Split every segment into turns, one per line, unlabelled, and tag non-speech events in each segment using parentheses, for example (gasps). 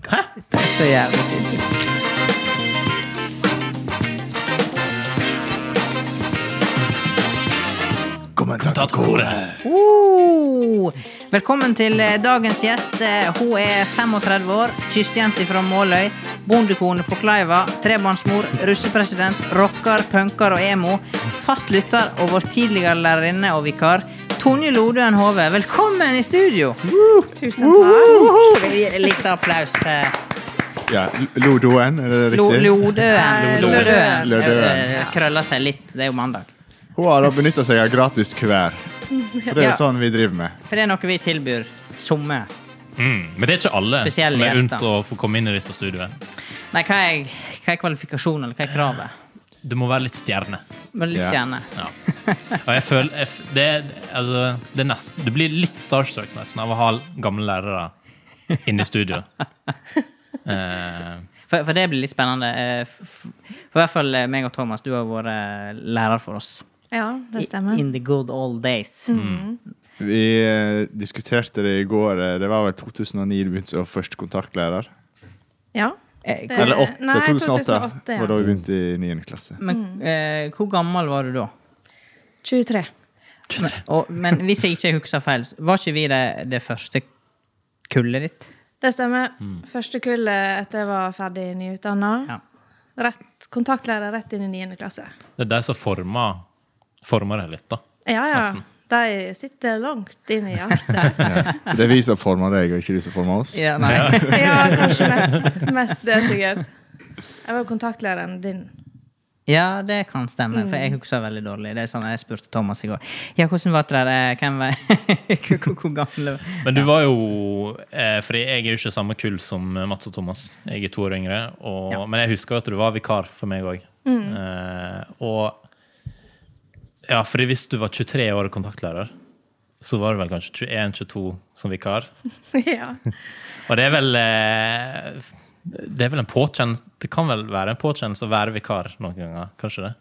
Så jævlig liksom. typisk. Oh! Velkommen til eh, dagens gjest. Eh, Hun er 35 år, kystjente fra Måløy, bondekone på Kleiva, trebarnsmor, russepresident, rocker, punker og emo, fast lytter og vår tidligere lærerinne og vikar. Tonje Lodøen Hove, velkommen i studio!
Tusen takk.
Woho! Litt applaus. eh,
Ja, Lodoen, er det
Lo-
riktig?
Lodøen.
Nei, (laughs)
Lodøen.
Lodøen.
Lodøen.
Eh, Krøller seg litt. Det er jo mandag.
Hun har benytta seg av gratis hver. For det
Ja.
er sånn vi driver med.
For det er noe vi tilbyr somme.
Mm, men det er ikke alle
Spesielle
som er
gjester.
unnt å få komme inn i dette studioet.
Nei, hva er, hva er kvalifikasjonen, eller hva er kravet?
Du må være litt stjerne.
Men litt
Ja.
gjerne. (laughs)
Ja. Og jeg føler jeg, f- det, er- altså, det er nest, Du blir litt starstruck nesten av å ha gamle lærere inne i
(laughs)
studio. Eh,
For, for det blir litt spennende. eh, f- f- For i hvert fall eh, meg og Thomas, du har vært eh, lærer for oss.
Ja, det
I-
stemmer. Mm.
In the good old days.
Vi eh, diskuterte det i går. eh, Det var vel 2009 du begynte som førstekontaktlærer?
Ja.
Eh, hvor-
Det-
Eller åtte,
nei,
2008,
2008, ja.
var da vi begynte i 9. klasse.
Men
mm.
eh, hvor gammel var du da?
23.
Men, og, men hvis jeg ikke husker feil, så var ikke vi det, det første kullet ditt?
Det stemmer. Første kullet etter jeg var ferdig nyutdanna.
Mm. Ja.
Rett, kontaktlærer rett inn i 9. klasse.
det er de som former, former det litt, da.
Ja, ja. De sitter langt
(laughs)
inn i hjertet.
Ja. Det er vi som former deg, og ikke du som former oss.
Ja, nei.
Ja, kanskje mest, mest det, sikkert. Jeg var kontaktlæreren din.
ja, det kan stemme, for jeg husker veldig dårlig. Det er sånn jeg spurte Thomas i går. Ja, hvordan var det der? eh, Hvem var (laughs) hvor, hvor, hvor gammel var
Men du var jo eh, Fordi jeg er jo ikke samme kull som eh, Mats og Thomas. Jeg er to år yngre. Og, Men jeg husker jo at du var vikar for meg òg. Eh, og Ja, fordi hvis du var 23 år og kontaktlærer, så var du vel kanskje 21-22 som vikar.
(laughs) Ja.
Og det er vel eh, Det er vel en påkjennelse Det kan vel være en påkjennelse å være vikar noen ganger? Kanskje det?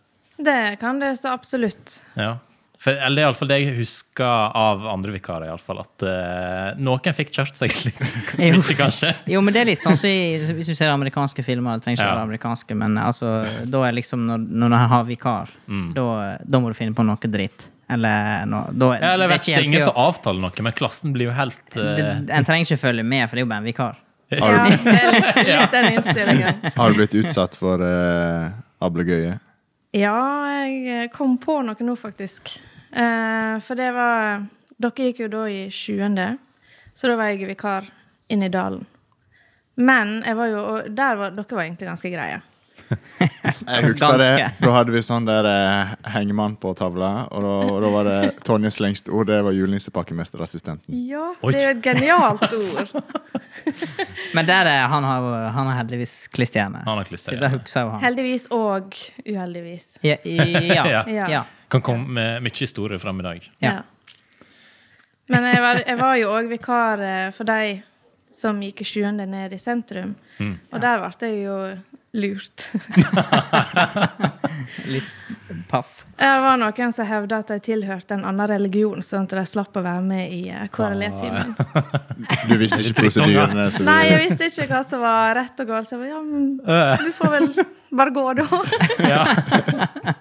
Det kan det så absolutt.
Ja. For, eller det er iallfall det jeg husker av andre vikarer. i alle fall, At eh, noen fikk kjørt seg litt.
Jo.
Ikke kanskje.
Jo, men det er litt sånn som i- hvis du ser amerikanske filmer. Det trenger ikke
Ja.
være amerikanske, men altså, da er liksom når, når du har vikar,
Mm.
da, da må du finne på noe dritt. Eller no, da
Ja, eller jeg vet ikke,
det
det
er
er
ikke
ingen som
hjelp i å-
avtaler noe, men klassen blir jo helt eh,
det- En trenger ikke følge med, for det er jo bare en vikar.
(laughs)
Ja, det er litt,
(laughs)
litt den innstillingen.
Har du blitt utsatt for eh, ablegøye?
Ja, jeg kom på noe nå, faktisk. Eh, for det var Dere gikk jo da i sjuende, så da var jeg vikar inn i dalen. Men jeg var jo Og der var dere var egentlig ganske greie.
Jeg husker det.
Ganske.
Da hadde vi sånn der eh, hengemann på tavla, og da, og da var det Tonjes lengste ord. Det var julenissepakkemesterrassistenten.
Ja,
Oi.
det er jo et genialt ord.
Men der er han har, han har heldigvis klisterhjerne.
Han har klisterhjerne.
Så det husker jo han.
(laughs) Heldigvis og uheldigvis.
Ja, i- ja.
(laughs) Ja.
ja. ja.
kan komme med mye historie frem i dag.
Ja.
Men jeg var, jeg var jo òg vikar eh, for de som gikk i sjuende ned i sentrum. Og der ble jeg jo lurt.
Litt paff.
Det var noen som hevda at de tilhørte en annen religion, sånn at de slapp å være med i eh, KRLE-timen.
Du visste ikke prosedyrene. så
Nei,
vi-
jeg visste ikke hva som var rett og galt, så jeg bare ja, men du får vel bare gå, da.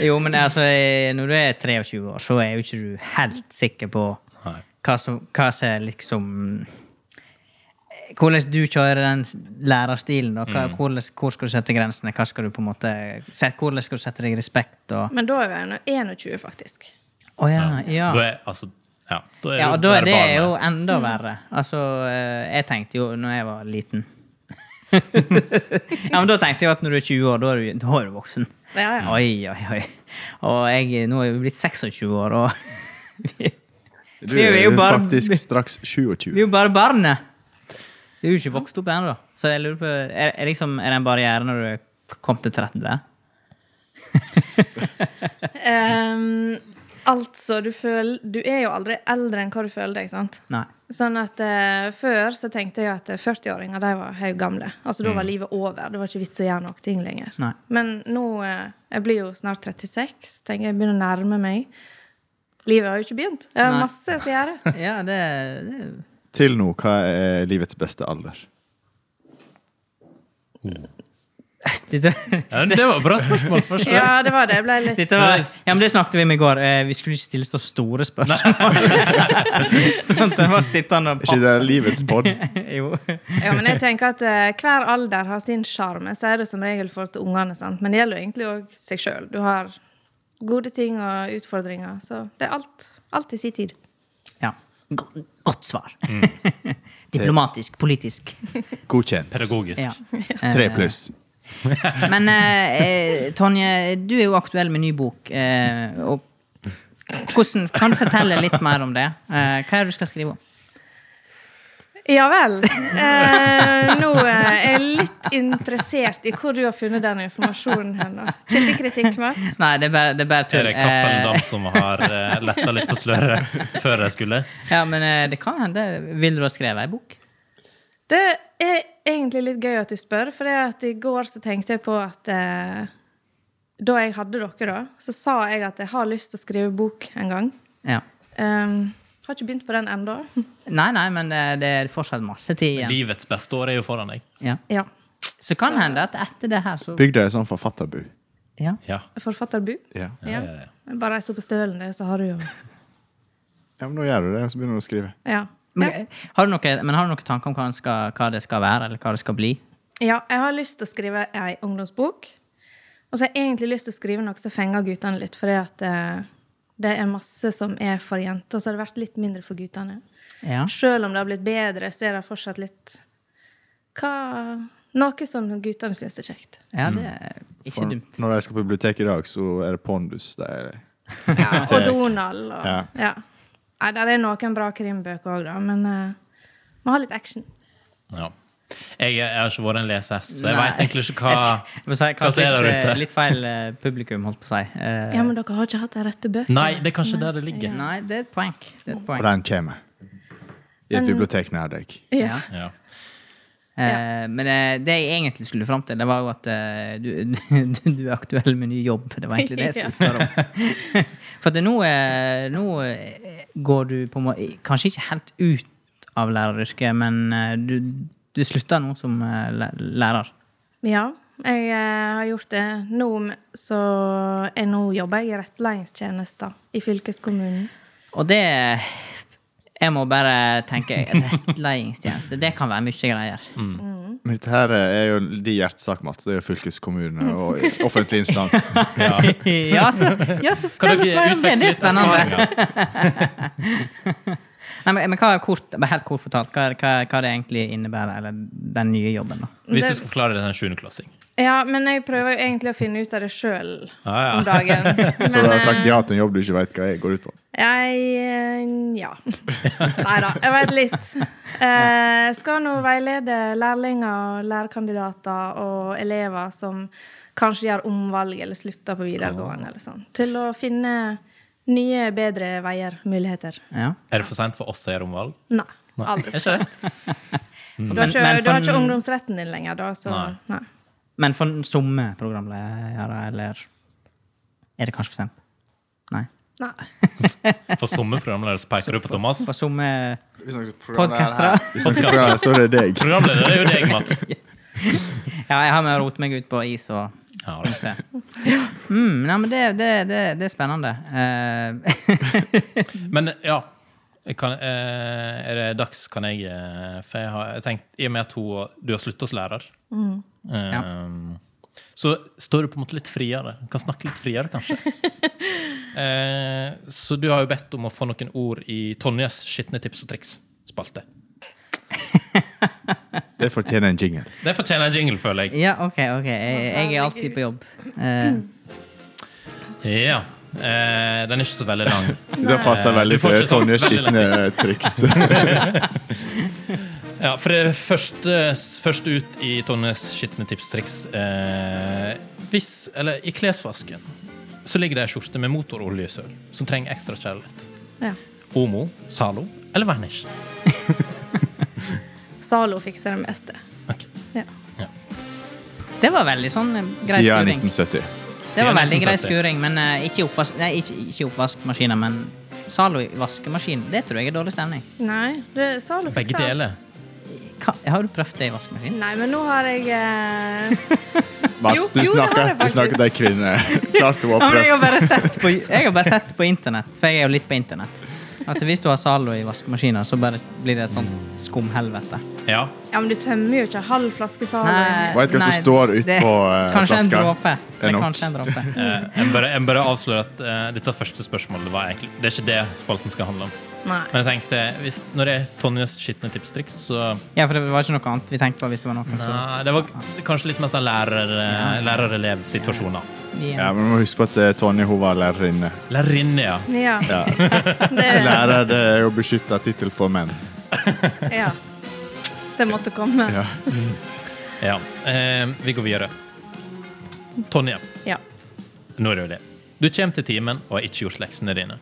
Jo, men altså, eh, når du er 23 år, så er jo ikke du helt sikker på
Nei.
hva som, hva som er liksom eh, Hvordan du kjører den s- lærerstilen. Og hva, hvordan, hvor skal du sette grensene? Hva skal du på en måte, se- hvordan skal du sette deg i respekt? Og,
Men da er jeg nå 21, faktisk.
Å ja, ja.
Da er, altså, ja, da er
ja,
du
og da er
bare
det
barnet.
jo enda verre. Altså, eh, jeg tenkte jo når jeg var liten Ja, men da tenkte jeg at når du er 20 år, da er du, da er du voksen.
Ja, ja.
Oi, oi, oi. Og jeg, nå er jeg jo blitt 26 år, og (laughs) vi,
Du
Vi er
er
jo
jo
bare-
faktisk straks
Vi
27.
er jo bare barn. ja. Du er jo ikke vokst opp ennå, da. Så jeg lurer på, er, er, liksom, er det en barriere når du er kom til 30?
Ehm, altså, du føler Du er jo aldri eldre enn hva du føler deg, sant?
Nei.
Sånn at eh, Før så tenkte jeg at eh, 40-åringer de var høy gamle. Altså, Da var livet over. Det var ikke vits å gjøre noe ting lenger.
(laughs)
Nei.
Men nå eh, Jeg blir jo snart 36. så tenker Jeg jeg begynner å nærme meg. Livet har jo ikke begynt. Jeg har
Nei.
masse jeg skal gjøre.
Ja, det, det
Til nå, hva er livets beste alder?
Dette,
(laughs) Ja, det var et bra
(laughs)
spørsmål. først.
Ja, det var det. Jeg ble litt
dette var, ja, men det snakket vi om i går. Eh, Vi skulle ikke stille så store spørsmål. (laughs) sånn at jeg var sittende og
Ikke det er livets pod.
(laughs) Jo.
Ja, men jeg tenker at eh, hver alder har sin sjarm. Jeg sier det som regel for til ungene, sant? men det gjelder jo egentlig òg seg sjøl. Du har gode ting og utfordringer. Så det er alt. Alt i sin tid.
Ja. Go- Godt svar.
Mm.
(laughs) Diplomatisk, politisk.
Godkjent.
Pedagogisk.
Ja. (laughs)
Tre pluss.
Men eh, eh, Tonje, du er jo aktuell med ny bok. Eh, og hvordan, kan du fortelle litt mer om det? Eh, hva er det du skal skrive om?
Ja vel. (laughs) Eh, nå eh, er jeg litt interessert i hvor du har funnet den informasjonen hen. da. Kildekritikk, Mats?
Nei, det er bare, det er bare
Er
tull.
det Cappelen
Eh,
Dam som har uh, letta litt på sløret (laughs) før jeg
(laughs)
skulle?
ja, men eh, det kan hende. Vil du ha skrevet ei bok?
Det er egentlig litt gøy at du spør, for det er at i går så tenkte jeg på at eh, Da jeg hadde dere, da, så sa jeg at jeg har lyst til å skrive bok en gang.
Ja.
Um, har ikke begynt på den ennå.
Nei, nei, men eh, det er fortsatt masse tid igjen.
Livets beste år er jo foran deg.
Ja.
(laughs) Ja.
Så kan hende at etter det her, så
Bygda er sånn forfatterbu.
ja.
Ja.
Forfatterbu.
Ja.
ja,
Ja.
ja.
Bare reis opp på stølen, det, så har du jo (laughs)
ja, men nå gjør du det, og så begynner du å skrive.
ja. ja.
Men eh, har du noe- men har du noen tanker om hva, den skal, hva det skal være, eller hva det skal bli?
ja. Jeg har lyst til å skrive ei ungdomsbok. Og så har jeg egentlig lyst til å skrive noe som fenger guttene litt, fordi at eh, det er masse som er for jenter, og så har det vært litt mindre for guttene.
Ja.
Sjøl om det har blitt bedre, så er det fortsatt litt Hva Noe som guttene syns er kjekt.
ja, det er
Mm.
ikke
For
dumt.
når jeg skal på biblioteket i dag, så er det Pondus. Det er
Ja, og Donald og
Ja.
Ja. Nei, der er noen bra krimbøker òg, da, men eh, må ha litt action.
Ja. Jeg, jeg har ikke vært en lesehest, så jeg
Nei.
veit egentlig ikke hva
Jeg s-
hva
må si,
som er
kanskje
der
litt,
ute.
eh, Litt feil eh, publikum, holdt på å si. Eh,
Ja, men dere har ikke hatt de rette bøkene?
Nei, det er kanskje der det ligger.
Nei, det er et poeng. Det er et
Og
poeng.
den kommer. I et bibliotek nær deg.
Ja.
Ja.
Eh, men eh, det jeg egentlig skulle fram til, det var jo at eh, du, (laughs) du, du er aktuell med ny jobb. Det var egentlig det jeg skulle spørre om. (laughs) For at nå, eh, nå eh, går du på en måte Kanskje ikke helt ut av læreryrket, men eh, du, du slutter nå som eh, læ- lærer.
Ja, jeg eh, har gjort det. Nå, m- så jeg, nå jobber jeg i rettledningstjenesten i fylkeskommunen.
Og det Jeg må bare tenke rettledningstjeneste. Det kan være mye greier.
Men dette her er jo de hjertesak, Mats. Det er jo
(laughs)
fylkeskommune og offentlig instans.
ja, så, ja, så
Kan
fortell oss
dere
mer om
utveksle
det. (laughs) Det er
litt
spennende.
erfaringer?
Nei, men, men hva er kort, bare helt kort fortalt, hva, er- hva, hva det egentlig innebærer, eller den nye jobben, da?
Hvis du skal forklare det til en sjuendeklassing.
Ja, men jeg prøver jo egentlig å finne ut av det sjøl
Ja, ja.
om dagen. Men,
Så du har sagt
eh,
ja til en jobb du ikke veit hva jeg går ut på.
Jeg eh, ja. (laughs) Nei da, jeg vet litt. Eh, skal nå veilede lærlinger og lærerkandidater og elever som kanskje gjør omvalg eller slutter på videregående, eller sånn, til å finne nye, bedre veier, muligheter.
Ja.
Er det for seint for oss å gjøre omvalg?
Nei.
Er
Aldri.
ikke
(laughs)
det?
Du
men
har ikke, du har
for-
ikke ungdomsretten din lenger, da, så
Nei.
nei.
Men for somme programledere, eller Er det kanskje for sent? Nei.
nei.
For somme programledere så peker du på Thomas.
For somme Podcastere.
Podkastere. Så er det deg.
Programleder er jo deg, Mats.
Ja, jeg har med å rote meg ut på is og
Ja, da.
se. Mm, nei, men det, det, det, det er spennende. Eh, (laughs)
Men ja jeg kan, eh, Er det dags, kan jeg eh, For jeg har jeg tenkt, i og med at hun, du har slutta som lærer, eh, så står du på en måte litt friere. Du kan snakke litt friere, (laughs) kanskje. eh, så du har jo bedt om å få noen ord i Tonjes skitne tips og triks-spalte.
Det fortjener en jingle.
Det fortjener en jingle, føler jeg.
ja, OK, OK. Jeg, jeg er alltid på jobb. Eh,
Ja. Eh, den er ikke så veldig lang.
Det passer veldig
Du får
til
ikke sånn
Tonjes
veldig
skitne triks.
Ja, for det første, først ut i Tonjes skitne tips og triks eh, Hvis, eller i klesvasken, så ligger det ei skjorte med motoroljesøl som trenger ekstra kjærlighet.
Ja.
Omo, Zalo eller Vanish?
Zalo fikser det meste.
Ok.
Ja.
det var veldig sånn eh, grei
Siden
skuring.
1970.
Det var veldig grei
1970.
skuring, men eh, ikke, i oppvask, nei, ikke, ikke i oppvaskmaskiner, men Zalo i vaskemaskin. Det tror jeg er dårlig stemning.
Nei, det, Zalo
Begge
fikser alt.
deler.
Ka- Har du prøvd det i vaskemaskin?
Nei, men nå har jeg eh, Jo,
Mats, du
jo, det har
snakker,
jeg
du
faktisk.
snakker til ei kvinne. (laughs) Klart hun
Ja,
har
men jeg har
prøvd.
bare sett på, jeg har bare sett på internett, for jeg er jo litt på internett. At hvis du har Zalo i vaskemaskinen, så bare blir det et sånt skumhelvete.
Ja.
Ja, men du tømmer jo ikke halv flaske Zalo.
Nei,
Vet du hva som
nei,
står ut
det-
på, eh,
Kanskje en
flaska?
dråpe. Det er
Enoch.
kanskje en dråpe.
Eh, jeg bare, jeg bare avslører at eh, dette første spørsmålet var egentlig Det er ikke det spalten skal handle om.
Nei.
Men jeg tenkte, hvis, når det er Tonjes skitne tipstriks, så
Ja, for det var ikke noe annet vi tenkte på hvis det var noen som
Nei, det var kanskje litt mer sånn lærer, lærer-elev-situasjoner.
Vi-
Ja, men du må huske på at eh, Tonje hun var lærerinne.
Lærerinne, ja.
Ja.
Ja.
(laughs) Det,
Lærer det er jo beskytta tittel for menn.
ja. det måtte komme.
Ja.
ja. Eh, vi går videre. Tonje,
Ja.
nå er det jo det. Du kommer til timen og har ikke gjort leksene dine.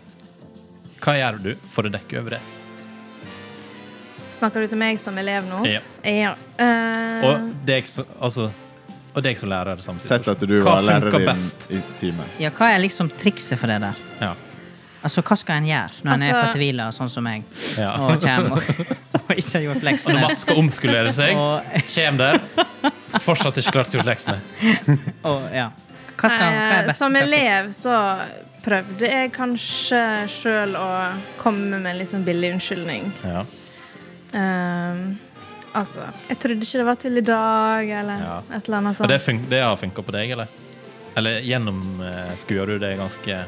Hva gjør du for å dekke over det?
Snakker du til meg som elev nå?
Ja.
ja. Eh,
Og deg som, altså, og deg som lærer samtidig.
Sett at du
Hva
var
funker
lærerinne
best?
i timen.
Ja, hva er liksom trikset for det der?
Ja.
Altså, hva skal en gjøre når en er
Altså-
fortvila, sånn som meg,
Ja.
og
(laughs)
kommer og, og ikke har gjort
Og når
leksene?
Mats skal omskolere seg,
Og-
kjem der. Fortsatt ikke klart å gjort leksene.
Og, ja. Hva skal, hva er
eh,
best?
som elev så prøvde jeg kanskje sjøl å komme med en litt sånn billig unnskyldning.
Ja.
Eh, altså Jeg trodde ikke det var til i dag, eller
Ja.
et eller annet
Og
sånt.
det, fun det har funka på deg, eller? Eller gjennomskuer du det ganske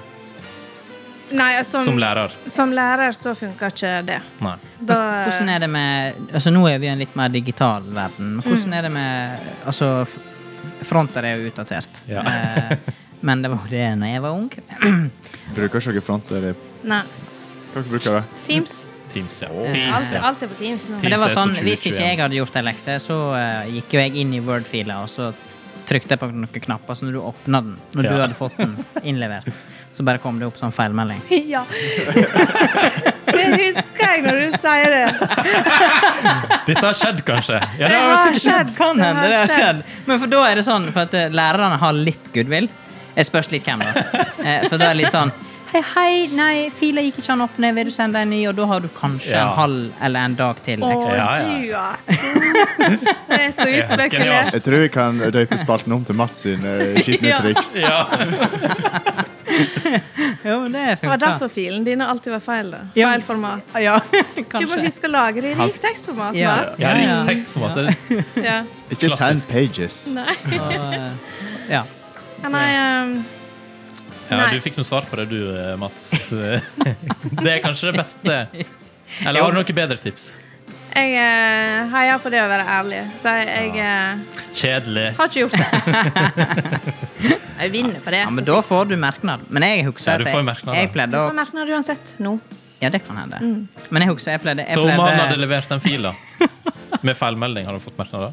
Nei, som,
Som lærer?
som lærer så funker ikke det.
Nei.
Da,
Hvordan er det med Altså Nå er vi i en litt mer digital verden. Men
Mm.
hvordan er det med Altså, f- fronter er jo utdatert.
Ja.
Eh, Men det var jo det når jeg var ung.
Bruker ikke dere front? Eller?
Nei.
Hva bruker dere?
Teams.
Teams, ja.
Alt,
Teams, ja.
alt er på Teams nå.
Men det var
Mm. Teams er
sånn,
så
Hvis ikke
2021.
jeg hadde gjort ei lekse, så eh, gikk jo jeg inn i Word-fila, og så trykte jeg på noen knapper, så når du åpna den, når du
Ja.
hadde fått den innlevert, så bare kom det opp sånn feilmelding.
(laughs) Ja. Det husker jeg når du sier det.
Dette har skjedd, kanskje? Ja, det
Det
har
har
sikkert skjedd.
skjedd.
Kan hende det har skjedd. Men for da er det sånn for at eh, lærerne har litt goodwill. Jeg spørs litt hvem, (laughs) da. Eh, For da er det litt sånn Hei, hei, nei, fila gikk ikke an å åpne. Vil du sende en ny? Og da har du kanskje
Ja.
en halv eller en dag til.
Å,
ekstra.
Ja, ja.
du, altså. Det er så utspekulert.
Jeg tror vi kan døype spalten om til Mats sin eh,
(laughs)
skitne
Ja.
triks.
Ja.
Jo, men det
Det var
funka.
derfor filen din alltid var feil. da.
Ja.
Feil format.
Ja, (laughs)
Du må
kanskje.
huske å lagre i rikt tekstformat.
Ja.
Mats.
Ja,
Ja, ja.
Rikt tekstformat. Det er
Ja.
Ikke send
Klassisk.
pages.
Nei.
Og, eh, ja.
Ja, Nei, ehm,
Ja,
Nei.
du fikk noe svar på det, du, eh, Mats. (laughs) Det er kanskje det beste. Eller har du noe bedre tips?
jeg eh, heier på det å være ærlig, så jeg eh,
Kjedelig.
har ikke gjort det.
(laughs)
Jeg vinner på det.
ja, men da får du merknad. Men jeg husker
Ja,
at
du får merknad,
jeg, jeg
da.
pleide
Du
å
får merknader uansett nå.
Ja, det kan hende. Men jeg husker jeg pleide, jeg
Så om han hadde
pleide
levert den fila med feilmelding, hadde han fått merknader?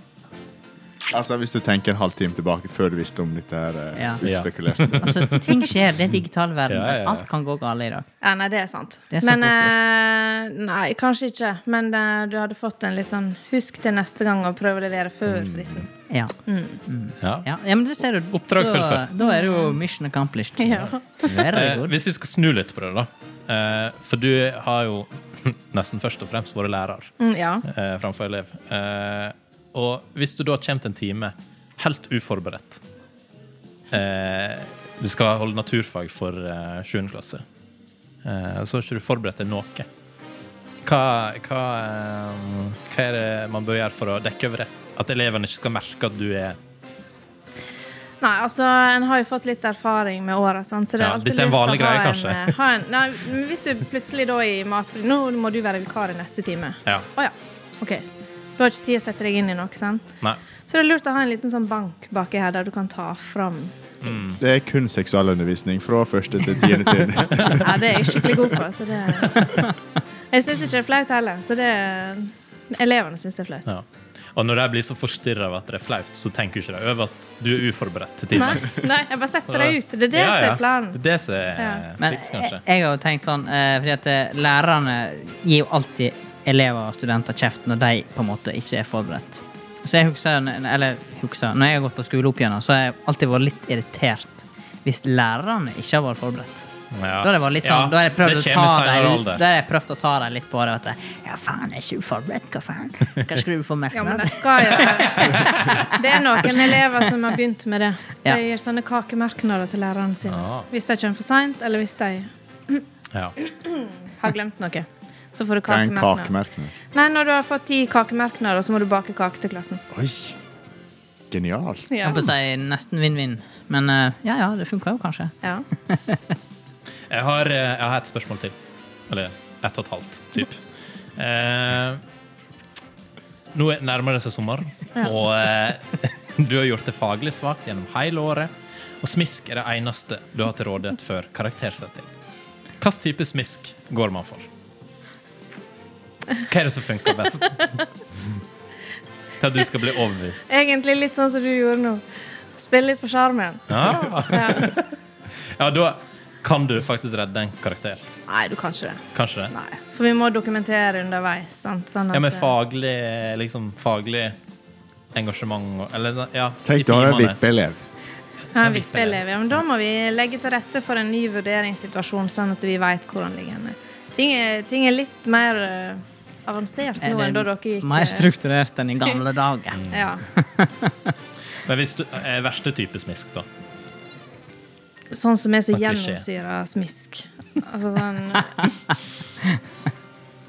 Altså, Hvis du tenker en halvtime tilbake før du visste om dette her eh,
Ja.
utspekulerte.
Altså, ting skjer. Det er digital verden.
(laughs) Ja, ja, ja.
Alt kan gå galt i dag.
Ja, nei, det er sant.
Det er så
men
fort
eh, Nei, kanskje ikke. Men eh, du hadde fått en litt sånn Husk til neste gang å prøve å levere før
Mm.
fristen.
Ja.
Ja.
Ja, ja, men det ser du.
Oppdrag
da,
fullført.
Da er det jo mission accomplished.
Ja.
Very
Eh,
good.
hvis vi skal snu litt på det, da. Eh, for du har jo (laughs) nesten først og fremst vært lærer
Mm, ja.
eh, framfor elev. Eh, og hvis du da kommer til en time helt uforberedt eh, Du skal holde naturfag for eh, 7. klasse. Eh, så har ikke du forberedt deg noe. Hva, hva, eh, hva er det man bør gjøre for å dekke over det? At elevene ikke skal merke at du er
Nei, altså, en har jo fått litt erfaring med åra, sant. Så det er
Ja,
alltid
dette er en
lurt å
vanlig
ha
greie,
en,
kanskje.
eh, ha en, nei, men hvis du plutselig da i matfri Nå må du være vikar i neste time.
Ja.
Å ja. OK. Du har ikke tid å sette deg inn i noe, sant.
Nei.
Så det er lurt å ha en liten sånn bank baki her, der du kan ta fram
Det er kun seksualundervisning fra første til tiende trinn.
Ja, det er jeg skikkelig god på. Så det
(laughs)
Jeg syns ikke det er flaut heller. Så det Elevene syns det er flaut.
Ja. Og når de blir så forstyrra av at det er flaut, så tenker ikke de over at du er uforberedt til timen.
Nei, nei, jeg bare setter deg ut. Det er det
Ja,
som
ja.
er planen.
Det er det som er
Ja.
Men
triks,
jeg,
kanskje.
jeg har jo tenkt sånn, eh, fordi at eh, lærerne gir jo alltid elever og studenter kjeft når de på en måte ikke er forberedt. Så jeg husker, eller husker, når jeg har gått på skole opp igjennom, så har jeg alltid vært litt irritert hvis lærerne ikke har vært forberedt.
Ja.
Da har det vært litt sånn,
Ja,
da har jeg prøvd å
det kommer
ta
senere
dem
alder.
Da har jeg prøvd å ta dem litt på det. At jeg, ja, faen, jeg er ikke uforberedt, hva faen? Hva skulle du få
Ja, men
merknad?
det skal jo være
(laughs)
Det er noen elever som har begynt med det.
Ja.
De gir sånne kakemerknader til lærerne sine.
Ah.
Hvis de kommer for seint, eller hvis de
Ja.
har glemt noe. Så får du
Hva er en
kakemerknad.
kakemerkning?
Nei, når du har fått ti kakemerknader, så må du bake kake til klassen.
Oi! Genialt.
Som på å si nesten vinn-vinn. Men eh, ja, ja, det funka jo kanskje.
Ja.
Jeg har, eh, jeg har et spørsmål til. Eller ett og et halvt, typ. Eh, nå er- nærmer det seg sommer, og eh, (laughs) du har gjort det faglig svakt gjennom hele året. Og smisk er det eneste du har til rådighet for karaktersetting. Hvilken type smisk går man for? Hva er det som funker best? Til at du skal bli overbevist.
Egentlig litt sånn som du gjorde nå. Spille litt på sjarmen.
Ja,
Ja.
ja da kan du faktisk redde en karakter.
Nei, du kan ikke det.
Kanskje det?
Nei. For vi må dokumentere underveis. Sant? Sånn at,
Ja, med
eh,
faglig, liksom, faglig engasjement og Eller, ja. i
Tenk, du har en
timene.
vippeelev.
Ja, en vippeelev. Ja, men da må vi legge til rette for en ny vurderingssituasjon, sånn at vi vet hvor han ligger henne. Ting er, ting er litt mer eh, avansert nå enn da dere gikk. eh,
mer strukturert enn i gamle dager.
(laughs) Ja.
Men hvis du er verste type smisk, da?
Sånn som er så
Sånn klisjé.
gjennomsyra smisk. Altså sånn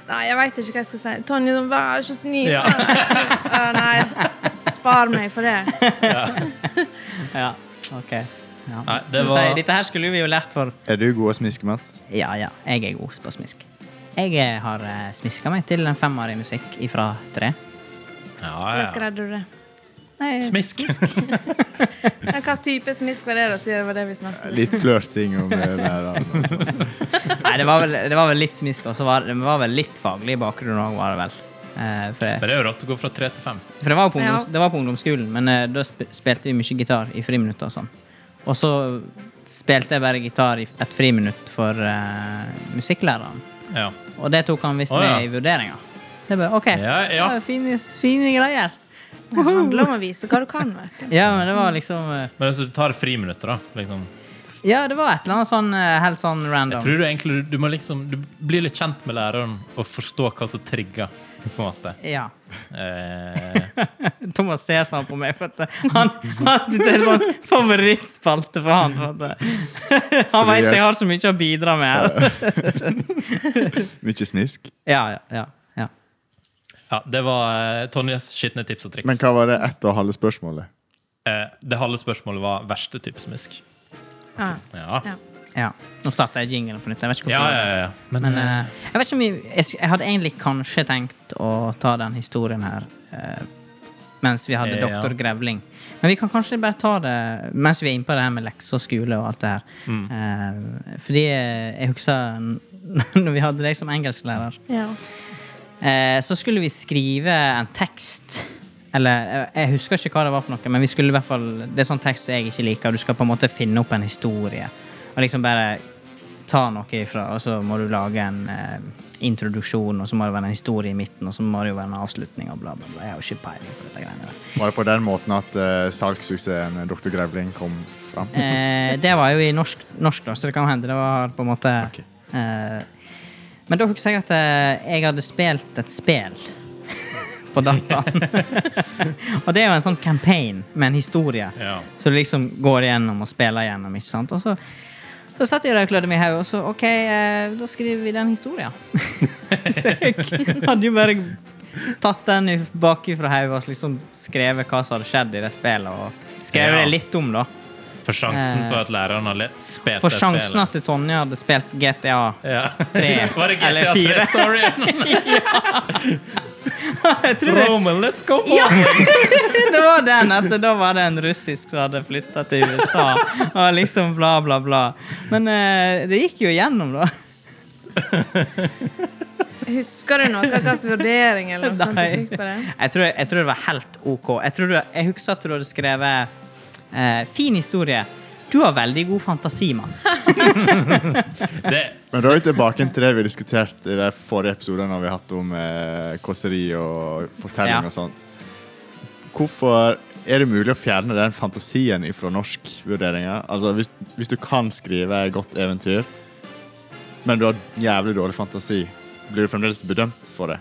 Nei, jeg veit ikke hva jeg skal si. Tonje, sånn, vær så snill.
Ja.
(laughs) Ja, nei, spar meg for det.
Ja, ok. Ja.
Nei, det
Du
var-
sier, Dette her skulle vi jo lært for
Er du god å smiske, Mats?
Ja, ja, jeg er god på smisk. Jeg eh, har eh, smiska meg til en femmer i musikk ifra tre.
Ja,
Hvordan greide du det?
Nei,
Smisk.
Men Hvilken type smisk var det, da, siden det var det vi snakket om?
Litt flørting om eh, læreren. altså.
Nei det, var vel, det var vel litt smisk, og så var det var vel litt faglig bakgrunn òg, var det vel. Eh, for,
Men det er jo rått å gå fra tre til fem.
for det, var jo på
Ja.
ungdoms, det var på ungdomsskolen, men eh, da sp spilte vi mye gitar i friminutt og sånn. Og så spilte jeg bare gitar i et friminutt for eh, musikklæreren,
Ja.
og det tok han visst
Å, ja.
med i vurderinga. Så jeg bare OK,
Ja, ja.
det var fine, fine greier.
Det handler om å vise hva du kan, vet du.
Ja, men det var liksom eh,
Men altså, du tar friminutter, da. Liksom.
Ja, det var et eller annet sånn eh, helt sånn
Jeg
random.
tror du egentlig du må liksom Du blir litt kjent med læreren og forstå hva som trigger, på en måte.
Ja. (laughs)
Eh,
Thomas ser sånn på meg, for at han, han det er sånn favorittspalte for han. For at, eh, (laughs) han veit jeg har så mye å bidra med. her.
Mye smisk.
(laughs) Ja, ja, ja. ja.
ja, det var eh, Tonjes skitne tips og triks.
Men hva var det ett og halve spørsmålet?
Eh, det halve spørsmålet var verste type smisk.
Ja.
Ja.
Ja.
ja. Nå starter jeg jinglen på nytt. Jeg vet ikke
Ja,
hvorfor.
ja, ja. Men,
Men eh, jeg vet ikke om jeg, jeg, sk- jeg hadde egentlig kanskje tenkt å ta den historien her eh, mens vi hadde
Eh, ja.
doktor Grevling. Men vi kan kanskje bare ta det mens vi er inne på det her med lekser og skole og alt det her.
Mm.
Eh, fordi eh, jeg husker n- (laughs) når vi hadde deg som engelsklærer,
Ja.
eh, så skulle vi skrive en tekst. Eller jeg, jeg husker ikke hva det var for noe, men vi skulle i hvert fall Det er sånn tekst som jeg ikke liker, og du skal på en måte finne opp en historie. Og liksom bare ta noe ifra, og så må du lage en eh, introduksjon, og så må det være en historie i midten, og så må det jo være en avslutning, og bla, bla, bla. Jeg har jo ikke peiling på dette greiene der.
Var det på den måten at eh, salgssuksessen Dr. Grevling kom fram?
Eh, det var jo i norsk, norsk da, så det kan hende det var på en måte
Ok.
eh, Men da husker jeg at eh, jeg hadde spilt et spill (laughs) på
(laughs)
dataen. og det er jo en sånn campaign med en historie.
Ja.
Så du liksom går igjennom og spiller igjennom, ikke sant? Og så, så satt jeg der og klødde meg i hodet, og så OK, eh, da skriver vi den historien. (laughs) så jeg hadde jo bare tatt den i- bakifra hodet og liksom skrevet hva som hadde skjedd i det spillet, og skrevet
Ja.
det litt om, da.
For sjansen
Eh,
for at læreren har le- spilt
For
det
sjansen
spillet.
at Tonje hadde spilt GTA
Ja.
(laughs) Tre,
(laughs) Var det GTA
eller fire. (laughs)
3-storyen?
Jeg tror (laughs) det,
Roman, let's go!
det var den at da var det en russisk som hadde flytta til USA, og liksom bla, bla, bla. Men eh, det gikk jo igjennom, da.
Husker du noe? Hva slags vurdering eller noe sånt du
Nei.
fikk på det?
Jeg tror, jeg tror det var helt OK. Jeg, tror du, jeg husker at du hadde skrevet eh, Fin historie. Du har veldig god fantasi, (laughs) Mats.
Det,
Men da er vi tilbake til det vi diskuterte i de forrige episodene vi har hatt om eh, kåseri og
Ja.
fortelling og sånt. Hvorfor er det mulig å fjerne den fantasien ifra norskvurderinga? Altså, hvis, hvis du kan skrive et godt eventyr, men du har jævlig dårlig fantasi, blir du fremdeles bedømt for det?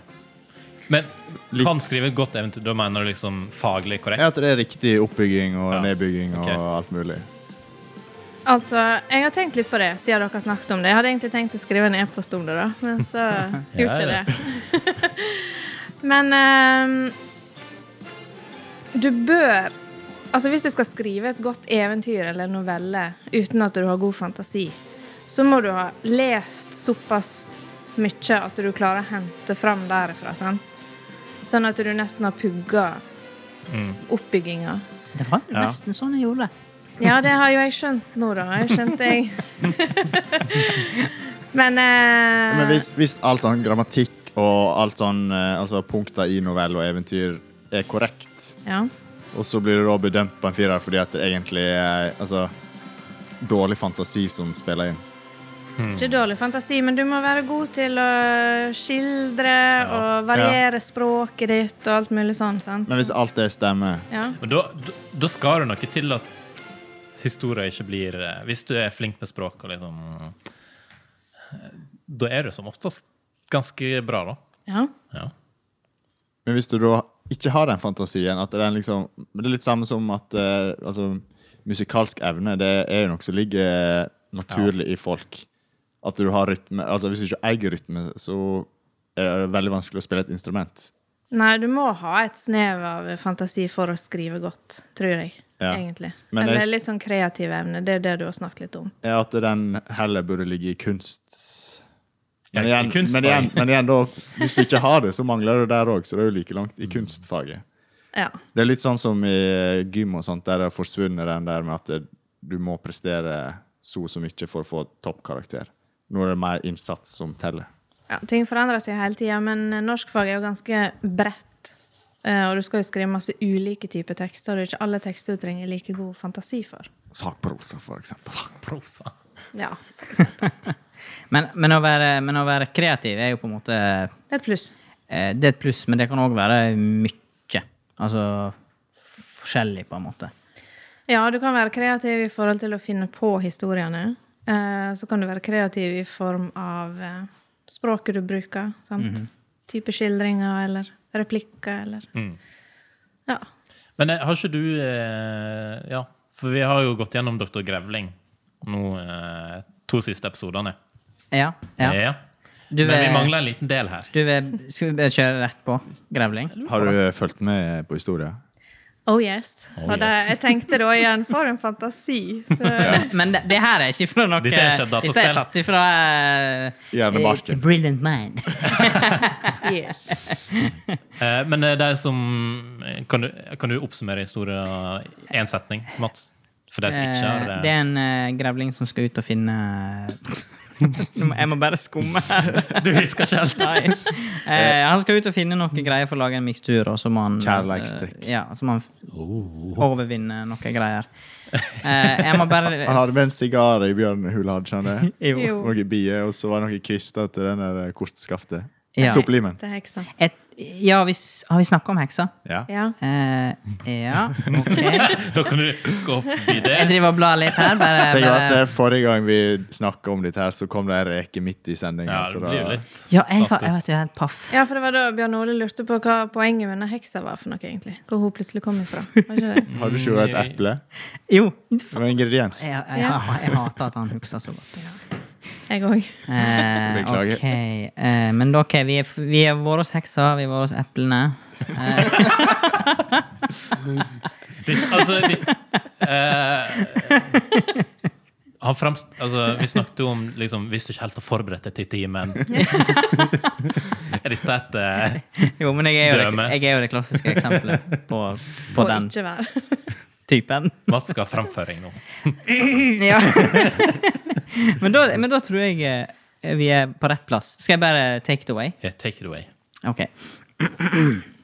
Men
Litt-
kan skrive et godt eventyr, da mener du liksom faglig korrekt?
Ja, At det er riktig oppbygging og
Ja.
nedbygging og
Ok.
alt mulig.
Altså, jeg har tenkt litt på det siden dere har snakket om det. Jeg hadde egentlig tenkt å skrive en e-post om det, da, men så gjorde ikke
(laughs) Ja, ja.
det. (laughs) men ehm, du bør Altså, hvis du skal skrive et godt eventyr eller en novelle uten at du har god fantasi, så må du ha lest såpass mye at du klarer å hente fram derifra, sant? Sånn at du nesten har pugga
Mm.
oppbygginga.
Det var
Ja.
nesten sånn jeg gjorde det.
Ja, det har jo jeg skjønt nå, da. Jeg skjønte jeg. Men, eh,
Men hvis, hvis alt sånn grammatikk og alt sånn eh, altså punkter i novelle og eventyr er korrekt,
ja.
og så blir du da bedømt på en firer fordi at det egentlig er altså, dårlig fantasi som spiller inn. Hmm.
Ikke dårlig fantasi, men du må være god til å skildre og variere språket ditt og alt mulig sånn, sant?
Men hvis alt det stemmer
Ja.
Men da, da- da skal det noe til at historien ikke blir eh, Hvis du er flink med språk og liksom eh, Da er du som oftest ganske bra, da.
ja.
Ja.
Men hvis du da ikke har den fantasien at den liksom, men Det er litt samme som at eh, altså, musikalsk evne det er jo noe som ligger naturlig i folk. At du har rytme altså Hvis du ikke eier rytme, så er det veldig vanskelig å spille et instrument.
Nei, du må ha et snev av fantasi for å skrive godt, tror jeg.
Ja.
Egentlig.
Men jeg-
Eller litt sånn kreativ evne. Det er det du har snakket litt om.
Er at den heller burde ligge i kunst.
Ja,
Men
i
igjen,
kunstfag.
men igjen, men igjen da, hvis du ikke har det, så mangler du der òg. Så det er jo like langt i kunstfaget.
Ja.
Det er litt sånn som i gym og sånt, der det har forsvunnet den der med at det- du må prestere så og så mye for å få toppkarakter. Nå er det mer innsats som teller.
Ja, ting forandrer seg hele tida, men norskfag er jo ganske bredt. Eh, Og du skal jo skrive masse ulike typer tekster, og det er ikke alle tekster du trenger like god fantasi for.
Sakprosa, for eksempel.
(laughs) Prosa.
Ja,
Men, men, å være, men å være kreativ er jo på en måte
Det er et pluss.
eh, Det er et pluss, men det kan òg være mye. Altså forskjellig, på en måte.
Ja, du kan være kreativ i forhold til å finne på historiene. Eh, Så kan du være kreativ i form av eh, språket du bruker. sant?
Mhm.
Type skildringer eller replikker eller
Mm.
Ja.
Men eh, har ikke du eh, Ja, for vi har jo gått gjennom Dr. Grevling nå eh, to siste episodene.
Ja. ja.
Eh.
Du eh,
Men vi
vil-
mangler en liten del her.
Du vil, skal vi bare kjøre rett på grevling?
Har du eh, fulgt med på historien?
Oh yes.
Oh,
Og det,
yes.
jeg tenkte da igjen, for en
(laughs)
fantasi! Så,
Men det, det her er ikke fra noe
Dette er ikke et dataspill.
Dette er tatt ifra eh,
Hjernebarken.
eh, Brilliant Mind.
yes.
Eh, men eh, det er som eh, Kan du, kan du oppsummere historien i én setning, Mats? For de som ikke har
Eh,
eh,
Det er en eh, grevling som skal ut og finne (laughs) Nå må- Jeg må bare skumme her.
Du husker ikke helt?
(laughs) Nei. Eh, han skal ut og finne noen greier for å lage en mikstur, og så må han
Kjærleiksdrikk.
eh, Ja, så må han
Oh.
overvinne noen greier. Eh, jeg må
Han
bare
hadde med en sigar i bjørnehula, hadde ikke (laughs) han det?
Jo.
Jo.
Noen bier, og så var det noen kvister til den der eh, kostskaftet.
Ja.
Sopplimen.
Det er heksa.
Et, ja, vi, s- har vi snakka om heksa?
Ja.
Ja.
Eh, ja, OK.
(laughs) Da kan du gå forbi det.
Jeg driver og blar litt her. Bare,
Tenk at eh,
bare.
Forrige gang vi snakka om dette, her, så kom det ei reke midt i sendinga.
Ja, det
så da-
blir jo litt
Ja, jeg, var, jeg vet jo, jeg er helt paff.
Ja, for det var da Bjørn Ole lurte på hva poenget med den heksa var for noe, egentlig. Hvor hun plutselig kom ifra. Var ikke
(laughs)
det?
Har du ikke jo et eple?
Jo.
Det var ingrediens.
Jeg, jeg, jeg, jeg hater at han hukser så godt.
Jeg òg.
(laughs) Eh,
Beklager.
ok, eh, men da, ok, vi er, f- vi er våre hos heksa, vi er våre hos eplene. Eh,
Ditt- Altså ditt, eh, han fremst, altså, vi snakket jo om liksom, hvis du ikke helt har forberedt deg til timen. Er dette et eh,
(laughs) jo, men jeg er jo, det,
Drømme.
jeg er jo det klassiske eksempelet på, på
Og
den
ikke være.
(laughs) typen.
Mats skal ha fremføring nå.
(laughs) ja. men, da, men da tror jeg eh, vi er på rett plass. Skal jeg bare take it away?
Yeah, take it away.
Ok. (clears throat)